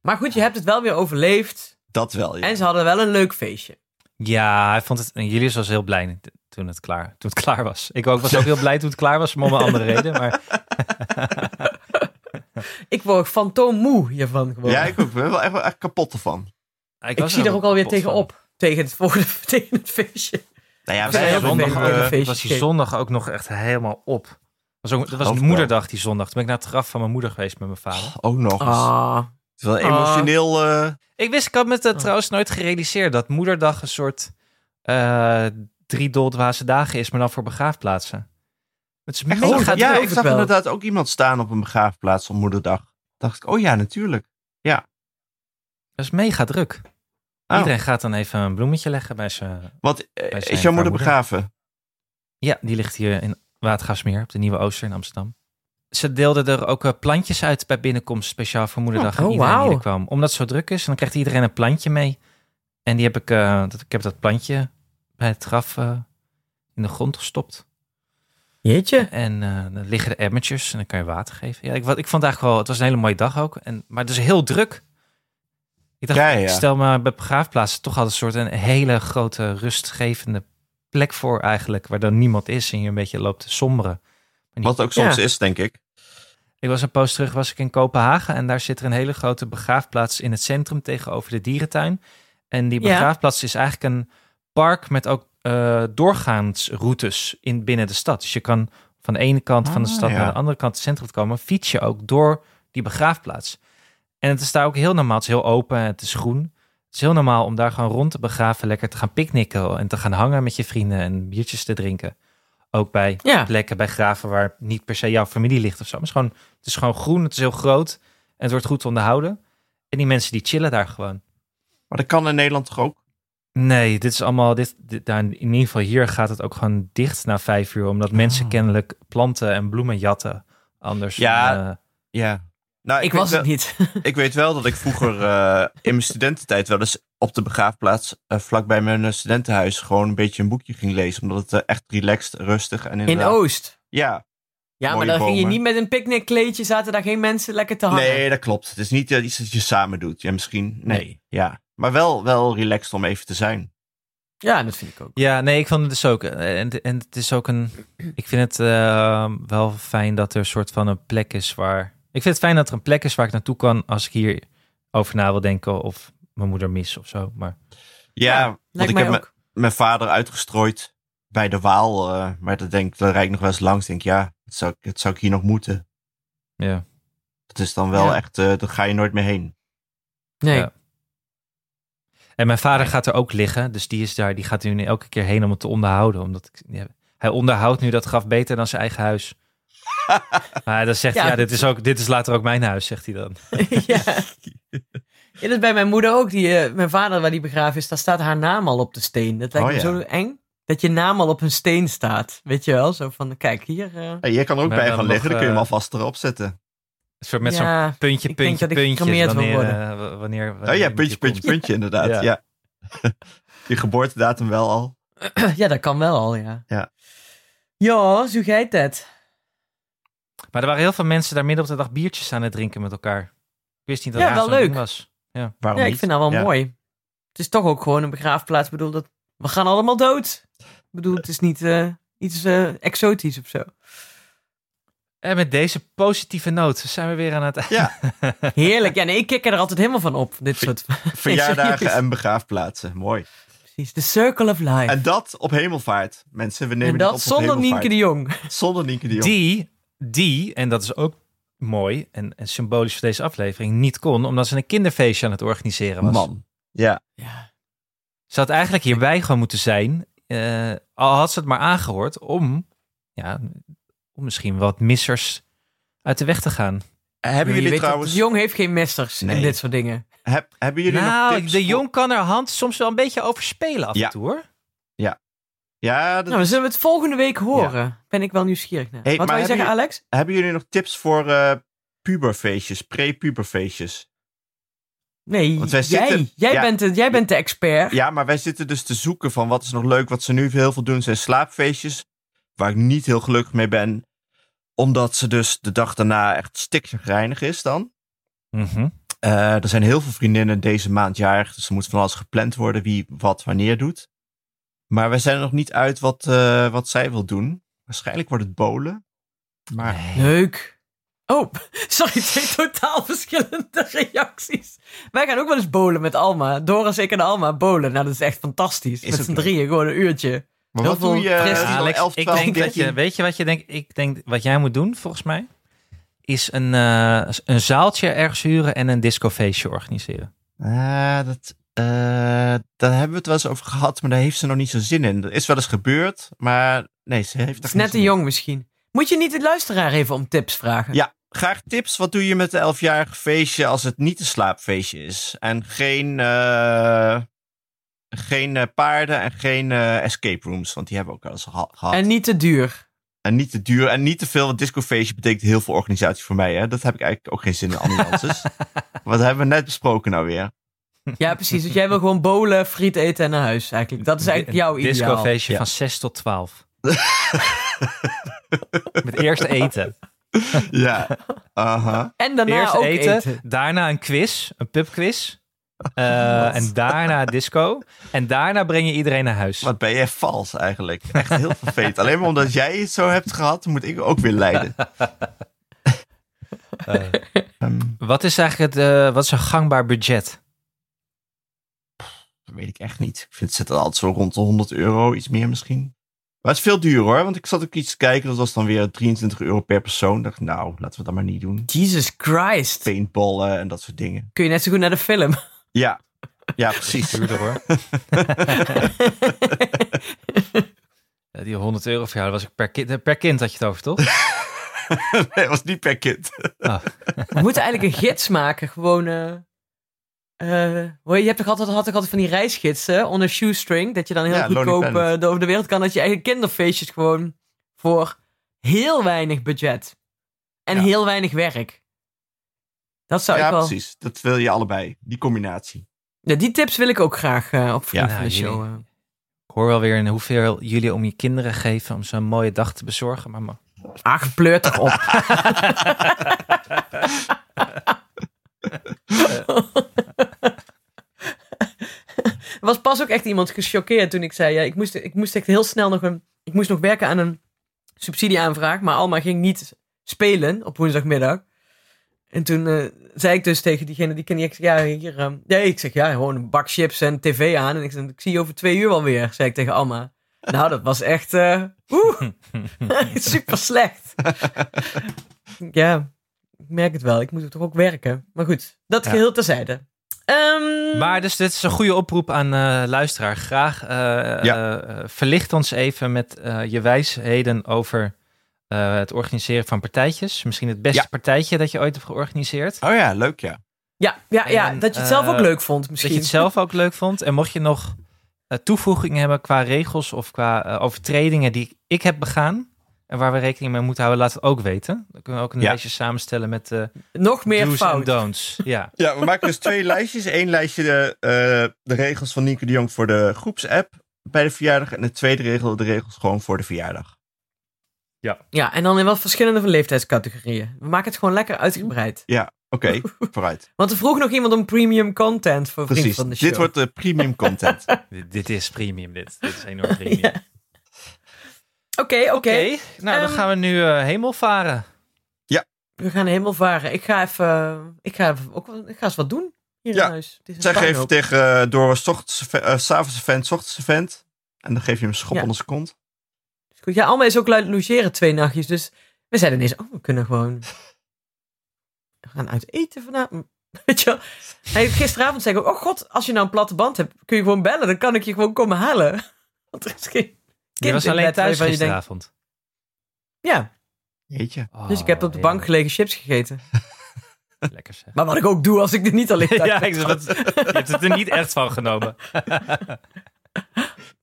C: Maar goed, je hebt het wel weer overleefd.
B: Dat wel, ja.
C: En ze hadden wel een leuk feestje.
A: ja, hij vond het... En Julius was heel blij toen het klaar, toen het klaar was. Ik ook, was ook heel blij toen het klaar was, maar om een andere reden. Maar
C: Ik word fantoommoe hiervan gewoon.
B: Ja,
C: ik,
B: ik ook. Ik ben wel echt, wel echt kapot ervan.
A: was
C: zie er ook
A: helemaal
C: alweer
A: kapot van.
C: tegenop. Tegen het, volgende, *laughs* tegen het feestje.
B: Nou ja,
A: Was
C: wij
A: hij
C: hebben
A: zondag
C: een
A: ook-
C: hele feestje
A: was die
C: gegeven.
A: zondag ook nog echt helemaal op. Was ook, dat was
B: Geloof ik
A: moederdag die zondag. Toen ben ik naar het graf van mijn moeder geweest met mijn vader.
B: Oh, ook nog eens.
C: Ah,
B: Het is wel
A: Ah.
B: emotioneel. eh,
A: Ik wist, ik had me dat
C: Oh.
A: trouwens nooit gerealiseerd. Dat moederdag een soort eh drie doldwaze dagen is, maar dan voor begraafplaatsen. Het is
B: echt,
A: mega
B: oh,
A: druk.
B: ja,
C: geloof
B: ik
C: ik
B: zag
C: wel.
B: inderdaad ook iemand staan op een begraafplaats op moederdag. Dacht ik, oh ja, natuurlijk.
A: Dat is mega druk.
B: Oh,
A: Iedereen gaat dan even een bloemetje leggen bij zijn...
B: want eh,
A: Wij zijn
B: is jouw moeder
A: vrouwen.
B: begraven?
A: Ja, die ligt hier in Watergasmeer op de Nieuwe Ooster in Amsterdam. Ze deelden er ook eh, plantjes uit bij binnenkomst speciaal voor moederdag.
C: Oh,
A: en
C: oh,
A: iedereen die
C: wauw.
A: er kwam. Omdat het zo druk is, en dan krijgt iedereen een plantje mee. En die heb ik, eh, dat, ik heb dat plantje bij het graf eh, in de grond gestopt.
C: jeetje.
A: En eh, dan liggen de emmertjes en dan kan je water geven. Ja, ik, wat, ik vond het eigenlijk wel, het was een hele mooie dag ook. En, maar het is heel druk. Ik dacht,
B: Ja, ja.
A: stel maar bij begraafplaatsen toch altijd een soort een hele grote rustgevende plek voor eigenlijk. Waar dan niemand is en je een beetje loopt te somberen.
B: Wat ook soms is, denk ik.
A: Ik was een poos terug, was ik in Kopenhagen. En daar zit er een hele grote begraafplaats in het centrum tegenover de dierentuin. En die
C: Ja.
A: begraafplaats is eigenlijk een park met ook eh, doorgaansroutes in, binnen de stad. Dus je kan van de ene kant van de
B: Ah,
A: stad
B: ja.
A: naar de andere kant het centrum komen. Fiets je ook door die begraafplaats. En het is daar ook heel normaal. Het is heel open, het is groen. Het is heel normaal om daar gewoon rond te begraven, lekker te gaan picknicken en te gaan hangen met je vrienden en biertjes te drinken. Ook bij
C: Ja.
A: plekken bij graven waar niet per se jouw familie ligt of zo. Maar het is gewoon, het is gewoon groen, het is heel groot en het wordt goed onderhouden. En die mensen die chillen daar gewoon.
B: Maar dat kan in Nederland toch ook?
A: Nee, dit is allemaal, dit, dit, daar, in ieder geval hier gaat het ook gewoon dicht na vijf uur. Omdat mensen kennelijk planten en bloemen jatten. Anders
B: Ja,
A: dan, eh,
B: Ja. Nou,
C: Ik
B: weet
C: was
B: wel-
C: het niet.
B: Ik weet wel dat ik vroeger
C: *laughs*
B: eh, in mijn studententijd wel eens op de begraafplaats vlak vlakbij mijn eh, studentenhuis gewoon een beetje een boekje ging lezen. Omdat het eh, echt relaxed, rustig en
C: In
B: inderdaad...
C: Oost.
B: Ja,
C: Ja,
B: Mooie
C: maar daar ging je
B: bomen.
C: niet met een picknickkleedje. Zaten daar geen mensen lekker te hangen.
B: nee, dat klopt. Het is niet eh, iets dat je samen doet. Ja, misschien... Nee.
C: Nee.
B: Ja. Maar wel, wel relaxed om even te zijn.
C: Ja, dat vind ik ook.
A: Ja, nee, ik vond het dus ook. eh, En, en het is ook een. Ik vind het eh, wel fijn dat er een soort van een plek is waar. Ik vind het fijn dat er een plek is waar ik naartoe kan als ik hier over na wil denken of mijn moeder mis of zo. Maar
B: Ja, want
C: Lijkt
B: ik
C: mij
B: heb mijn-
C: ook.
B: mijn vader uitgestrooid bij de Waal. eh, maar dat denk, ik- daar rijd ik nog wel eens langs. denk ja, dat zou, ik- dat zou ik hier nog moeten.
A: ja,
B: Dat is dan wel
C: Ja.
B: echt... eh daar ga je nooit meer heen.
C: Nee.
A: Ja. En mijn vader gaat er ook liggen, dus die is daar. Die gaat er nu elke keer heen om het te onderhouden, omdat ik, ja, hij onderhoudt nu dat graf beter dan zijn eigen
C: *laughs*
A: huis. maar dan zegt hij,
C: Ja.
A: ja, dit is ook, dit is later ook mijn huis, zegt hij dan.
C: *laughs* ja.
B: *laughs*
C: Ja, dat is bij mijn moeder ook. Die, eh, mijn vader, waar die begraven is, daar staat haar naam al op de steen. Dat lijkt
B: Oh,
C: me
B: ja.
C: zo eng. Dat je naam al op een steen staat. Weet je wel? Zo van, kijk, hier... eh,
B: Ja, je kan er ook
A: Maar
B: bij
A: dan
B: gaan
A: nog,
B: liggen. Dan kun je hem
A: eh,
B: alvast erop zetten.
A: Een soort met zo'n
C: ja, *clears throat*
A: puntje,
C: Ik denk
A: puntje,
C: dat ik
A: puntje.
C: gecremeerd wil
A: wanneer,
C: worden.
A: eh, w- wanneer, wanneer
B: Oh ja,
A: iemand
B: puntje,
A: hier
B: puntje,
A: komt.
B: puntje, inderdaad.
A: Ja.
B: Ja. *laughs* Je geboortedatum wel al.
C: ja, dat kan wel al, ja.
B: Ja.
C: Ja, zo geit het.
A: Maar er waren heel veel mensen daar midden op de dag biertjes aan het drinken met elkaar. Ik wist niet dat
C: Ja,
A: dat
C: wel
A: zo'n
C: leuk.
A: ding was.
B: Waarom
C: Ja, ik
B: niet?
C: vind dat wel
B: Ja.
C: mooi. Het is toch ook gewoon een begraafplaats. Ik bedoel, dat, we gaan allemaal dood. Ik bedoel, het is niet eh, iets eh, exotisch
B: *laughs*
C: of zo.
A: En met deze positieve noot zijn we weer aan
B: *laughs*
A: het eind.
B: Ja,
C: Heerlijk. Ja, nee, ik kik er altijd helemaal van op. Dit
B: *laughs*
C: soort... *laughs*
B: verjaardagen
C: serieus.
B: en begraafplaatsen. Mooi.
C: Precies, the circle of life.
B: En dat op hemelvaart. Mensen, we nemen
C: En
B: dit
C: dat
B: op
C: zonder
B: op
C: Nienke
B: hemelvaart.
C: de Jong.
B: Zonder Nienke de Jong.
A: Die, die, en dat is ook mooi en, en symbolisch voor deze aflevering, niet kon omdat ze een kinderfeestje aan het organiseren was.
B: man. Ja.
C: Ja.
A: Ze had eigenlijk hierbij gewoon moeten zijn, eh, al had ze het maar aangehoord, om, ja, om misschien wat missers uit de weg te gaan.
B: Hebben
C: Je weet
B: jullie
C: dat
B: trouwens...
C: De Jong heeft geen mesters en
B: Nee.
C: dit soort dingen.
B: heb- hebben jullie nog
A: nou,
B: tips
A: de
B: voor-
A: jong kan haar hand soms wel een beetje overspelen af
B: Ja.
A: en toe hoor.
B: Ja, dat-
C: Nou, dan zullen we het volgende week horen. Ben ik wel nieuwsgierig naar.
B: Hey,
C: Wat
B: maar
C: wil je
B: hebben
C: zeggen, Alex?
B: hebben jullie nog tips voor eh, puberfeestjes, pre-puberfeestjes?
C: Nee,
B: Want
C: jij,
B: wij zitten-
C: jij,
B: Ja.
C: bent de, jij bent de expert.
B: Ja, maar wij zitten dus te zoeken van wat is nog leuk. Wat ze nu heel veel doen zijn slaapfeestjes. Waar ik niet heel gelukkig mee ben. Omdat ze dus de dag daarna echt stikzagrijnig is dan.
A: Mhm.
B: Eh, er zijn heel veel vriendinnen deze maand jarig. Dus er moet van alles gepland worden wie wat wanneer doet. Maar wij zijn er nog niet uit wat, eh, wat zij wil doen. Waarschijnlijk wordt het bolen. Maar
A: Nee.
C: Leuk. Oh, *laughs* sorry, twee totaal verschillende reacties. Wij gaan ook wel eens bowlen met Alma. Doris, ik en Alma bowlen. Nou, dat is echt fantastisch.
B: Is
C: met
B: ook
C: z'n
B: leuk.
C: drieën, gewoon een uurtje.
B: Maar
C: Heel
B: wat doe
C: veel
B: je?
C: frisjes.
B: eh,
A: Alex,
B: 11, 12,
A: ik denk dat
B: 13?
A: je, weet je wat je denkt? Ik denk wat jij moet doen, volgens mij, is een, eh, een zaaltje ergens huren en een discofeestje organiseren.
B: Eh, dat, eh, daar hebben we het wel eens over gehad, maar daar heeft ze nog niet zo zin in. Dat is wel eens gebeurd, maar nee, ze heeft
C: Het is
B: geen
C: net
B: zin
C: te jong misschien. Moet je niet de luisteraar even om tips vragen?
B: Ja. in. Graag tips. Wat doe je met een 11-jarig feestje als het niet een slaapfeestje is? En geen, eh, geen eh, paarden en geen eh, escape rooms, want die hebben we ook wel eens geha- gehad.
C: En niet te duur.
B: En niet te duur en niet te veel. Want discofeestje betekent heel veel organisatie voor mij. Hè? Dat heb ik eigenlijk ook geen zin in.
C: *laughs*
B: Ambulances. Wat hebben we net besproken nou weer?
C: Ja, precies. Want jij wil gewoon bowlen, friet eten en naar huis eigenlijk. Dat is eigenlijk jouw
A: Een
C: ideaal.
A: Discofeestje
B: Ja.
A: van 6 tot 12. Met eerst
C: *laughs*
A: eten.
B: ja. Aha.
C: En daarna
A: eerst
C: Nou, ook
A: eten,
C: eten.
A: daarna een quiz, een
C: *laughs*
A: pubquiz. Eh, en daarna disco. En daarna breng je iedereen naar huis.
B: Wat ben jij vals eigenlijk? Echt heel vervelend. Alleen maar omdat jij het zo hebt gehad, moet ik ook weer *laughs* lijden.
A: Eh,
B: Ehm,
A: wat is eigenlijk het, eh, wat is een gangbaar budget?
B: dat weet ik echt niet. Ik vind het zit altijd zo rond de 100 euro, iets meer misschien. Maar het is veel duur hoor, want ik zat ook iets te kijken. Dat was dan weer 23 euro per persoon. Ik dacht, nou, laten we dat maar niet doen.
C: Jesus Christ.
B: Paintballen en dat soort dingen.
C: Kun je net zo goed naar de film.
B: Ja, *laughs* ja precies.
A: Duurder
C: *laughs*
A: hoor. Ja, Die 100 euro voor jou, dat was ik per kind, per kind had je het over, toch?
B: nee, dat was niet per kind.
A: Oh.
C: We moeten eigenlijk een gids maken. Gewoon. eh, eh, hoor je, je hebt toch altijd, had toch altijd van die reisgidsen. On a shoestring. Dat je dan heel
B: Ja, Lonely
C: goedkoop eh,
B: Planet.
C: over de wereld kan. Dat je eigen kinderfeestjes gewoon. voor heel weinig budget. En
B: Ja.
C: heel weinig werk. Dat zou
B: ja,
C: ik wel.
B: precies. Dat wil je allebei. Die combinatie.
C: Ja, die tips wil ik ook graag eh, op vrienden
A: Ja,
C: van de
A: jullie-
C: show. eh.
A: Ik hoor wel weer in hoeveel jullie om je kinderen geven om zo'n mooie dag te bezorgen. Maar man,
C: Ah, pleurt toch op. Er was pas ook echt iemand gechoqueerd toen ik zei... Ja, ik, moest, ik moest echt heel snel nog een... Ik moest nog werken aan een subsidieaanvraag. Maar Alma ging niet spelen op woensdagmiddag. En toen eh, zei ik dus tegen diegene die ken ik... zeg, Ja, hier, ehm, nee, ik zeg ja, gewoon een bak chips en tv aan. En ik, zeg, ik zie je over twee uur alweer, zei ik tegen Alma. Nou, dat was echt... eh, oeh, *laughs* super slecht. *laughs* ja, ik merk het wel. Ik moet toch ook werken. Maar goed, dat
A: Ja.
C: geheel terzijde. Ehm,
A: Maar dus dit is een goede oproep aan eh, luisteraar. Graag eh, eh, verlicht ons even met eh, je wijsheden over eh, het organiseren van partijtjes. Misschien het beste
B: Ja.
A: partijtje dat je ooit hebt georganiseerd.
B: Oh ja, leuk ja.
C: Ja, ja, ja
A: En,
C: dat je het zelf ook
A: eh,
C: leuk vond
A: Dat
C: misschien.
A: je het zelf ook leuk vond. En mocht je nog eh, toevoegingen hebben qua regels of qua eh, overtredingen die ik heb begaan. En waar we rekening mee moeten houden, laat het ook weten. Dan kunnen we ook een
B: Ja.
A: lijstje samenstellen met eh
C: Nog meer
A: do's en
C: fout. *laughs*
A: don'ts. Ja.
B: Ja, we maken dus twee lijstjes. Eén lijstje de, eh, de regels van Nico de Jong voor de groepsapp bij de verjaardag. En de tweede regel de regels gewoon voor de verjaardag.
C: Ja, en dan in wat verschillende van leeftijdscategorieën. We maken het gewoon lekker uitgebreid.
B: Oké,
C: Oh.
B: *laughs* vooruit.
C: Want er vroeg nog iemand om premium content voor vrienden
B: Precies.
C: van de show. *laughs*
B: Dit wordt de premium content.
A: Dit, dit is premium, dit. Dit is enorm premium.
C: *laughs* Ja. Oké, oké.
A: Oké, nou dan
C: Ehm,
A: gaan we nu eh, hemel varen.
C: We gaan helemaal varen. Ik ga even... eh, Ik ga, even ook, wel- ik ga eens wat doen hier
B: Ja.
C: in huis. Het is een
B: zeg even
C: puinhoop.
B: tegen eh, Doris, 's ochtends, eh, 's avonds een vent, 's ochtends een vent. En dan geef je hem een schop
C: Ja.
B: onder zijn kont.
C: Is goed. Ja, Alma is ook lu- logeren twee nachtjes. Dus we zeiden ineens, oh, we kunnen gewoon... We gaan uit eten vanavond. *laughs* Weet je wel? Hij, gisteravond zei ik ook, oh god, als je nou een platte band hebt, kun je gewoon bellen. Dan kan ik je gewoon komen halen. *laughs* Want er is geen kind
A: Je was
C: in
A: alleen
C: bed
A: thuis
C: waarvan je denkt-
A: gisteravond.
C: Ja,
B: Jeetje.
C: dus
A: Oh,
C: ik heb op de bank gelegen chips gegeten.
A: Lekker zeg.
C: Maar wat ik ook doe als ik er niet alleen thuis
A: *laughs* ja,
C: ben.
A: ik zeg, dat, *laughs* je hebt het er niet echt van genomen.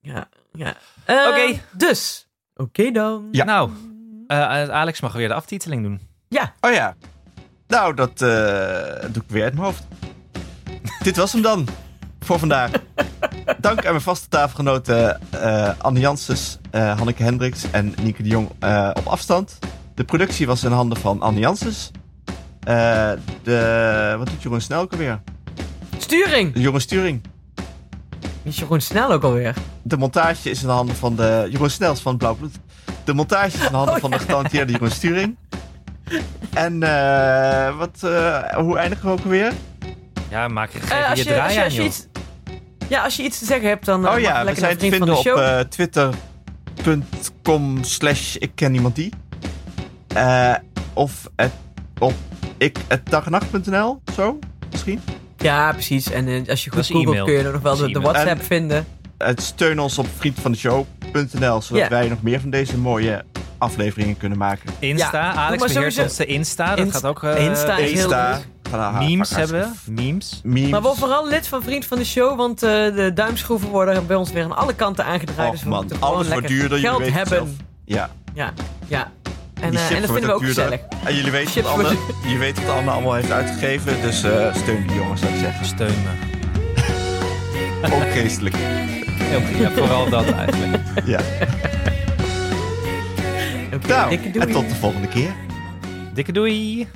C: Ja, ja. Eh,
A: Oké.
C: Dus, oké dan.
B: Ja.
A: Nou, eh, Alex mag weer de aftiteling doen.
B: Oh ja. Nou, dat eh, doe ik weer uit mijn hoofd. *laughs* Dit was hem dan. Voor vandaag. Dank aan mijn vaste tafelgenoten eh Anne Janssens, eh, Hanneke Hendricks en Nieke de Jong eh, op afstand. De productie was in handen van Anne Janssens. Eh, de, wat doet Jeroen Snelke weer?
C: Sturing.
B: De Jeroen Sturing.
C: Is Jeroen snel ook alweer.
B: De montage is in de handen van de Jeroen Snels van Blauw Bloed. De montage is in de handen
C: Oh,
B: van de getalenteerde Jeroen Sturing. En eh, wat, eh, hoe eindigen we ook weer?
A: Ja, maak je,
C: Eh,
A: je,
C: als,
A: je
C: je, als,
A: draai
C: je,
A: aan,
C: als je
A: joh.
C: iets, ja, als je iets te zeggen hebt, dan eh,
B: oh
C: mag
B: ja,
C: je
B: we
C: lekker naar
B: zijn te
C: vriend van de
B: vinden op
C: show.
B: eh, twitter.com slash ik ken iemand die. Eh, of het- op ik@dagnacht.nl, zo misschien.
C: ja, precies. En eh, als je
A: Dat
C: goed
A: is
C: googelt
A: e-mail.
C: kun je er nog wel
A: Dat
C: de,
A: is
C: de
A: e-mail.
C: WhatsApp
B: En-
C: vinden.
B: Het Eh, steun ons op vriendvandeshow.nl, zodat
C: Ja.
B: wij nog meer van deze mooie afleveringen kunnen maken.
A: Insta,
C: doe
A: Alex beheert
C: maar sowieso.
A: ons de Insta. Dat
C: Inst-
A: gaat ook... eh,
C: Insta is heel
B: Insta,
C: goed.
B: ga daar-
A: Memes
B: ga daar-
A: hebben we. Memes.
B: Memes.
C: Maar word vooral lid van Vriend van de Show, want eh, de duimschroeven worden bij ons weer aan alle kanten aangedraaid.
B: Och,
C: dus we
B: man,
C: moeten gewoon
B: alles wordt
C: lekker
B: duurder, jullie
C: geld
B: weten het
C: hebben.
B: zelf. Ja,
C: Ja, ja. En,
B: die
C: eh,
B: chips
C: en dat
B: wordt
C: vinden we ook
B: duurder.
C: gezellig.
B: En jullie weten,
C: Chips
B: wat Anne,
C: wordt-
B: je weet wat Anne allemaal heeft uitgegeven, dus eh, steun die jongens, zou ik zeggen.
A: Steun me.
B: Ook geestelijk,
A: Heel goed. Ja, vooral dat eigenlijk.
B: *laughs*
C: *laughs*
B: ja.
C: Oké,
B: Nou,
C: dikke
B: en
C: doei.
B: Nou, tot de volgende keer.
A: Dikke doei.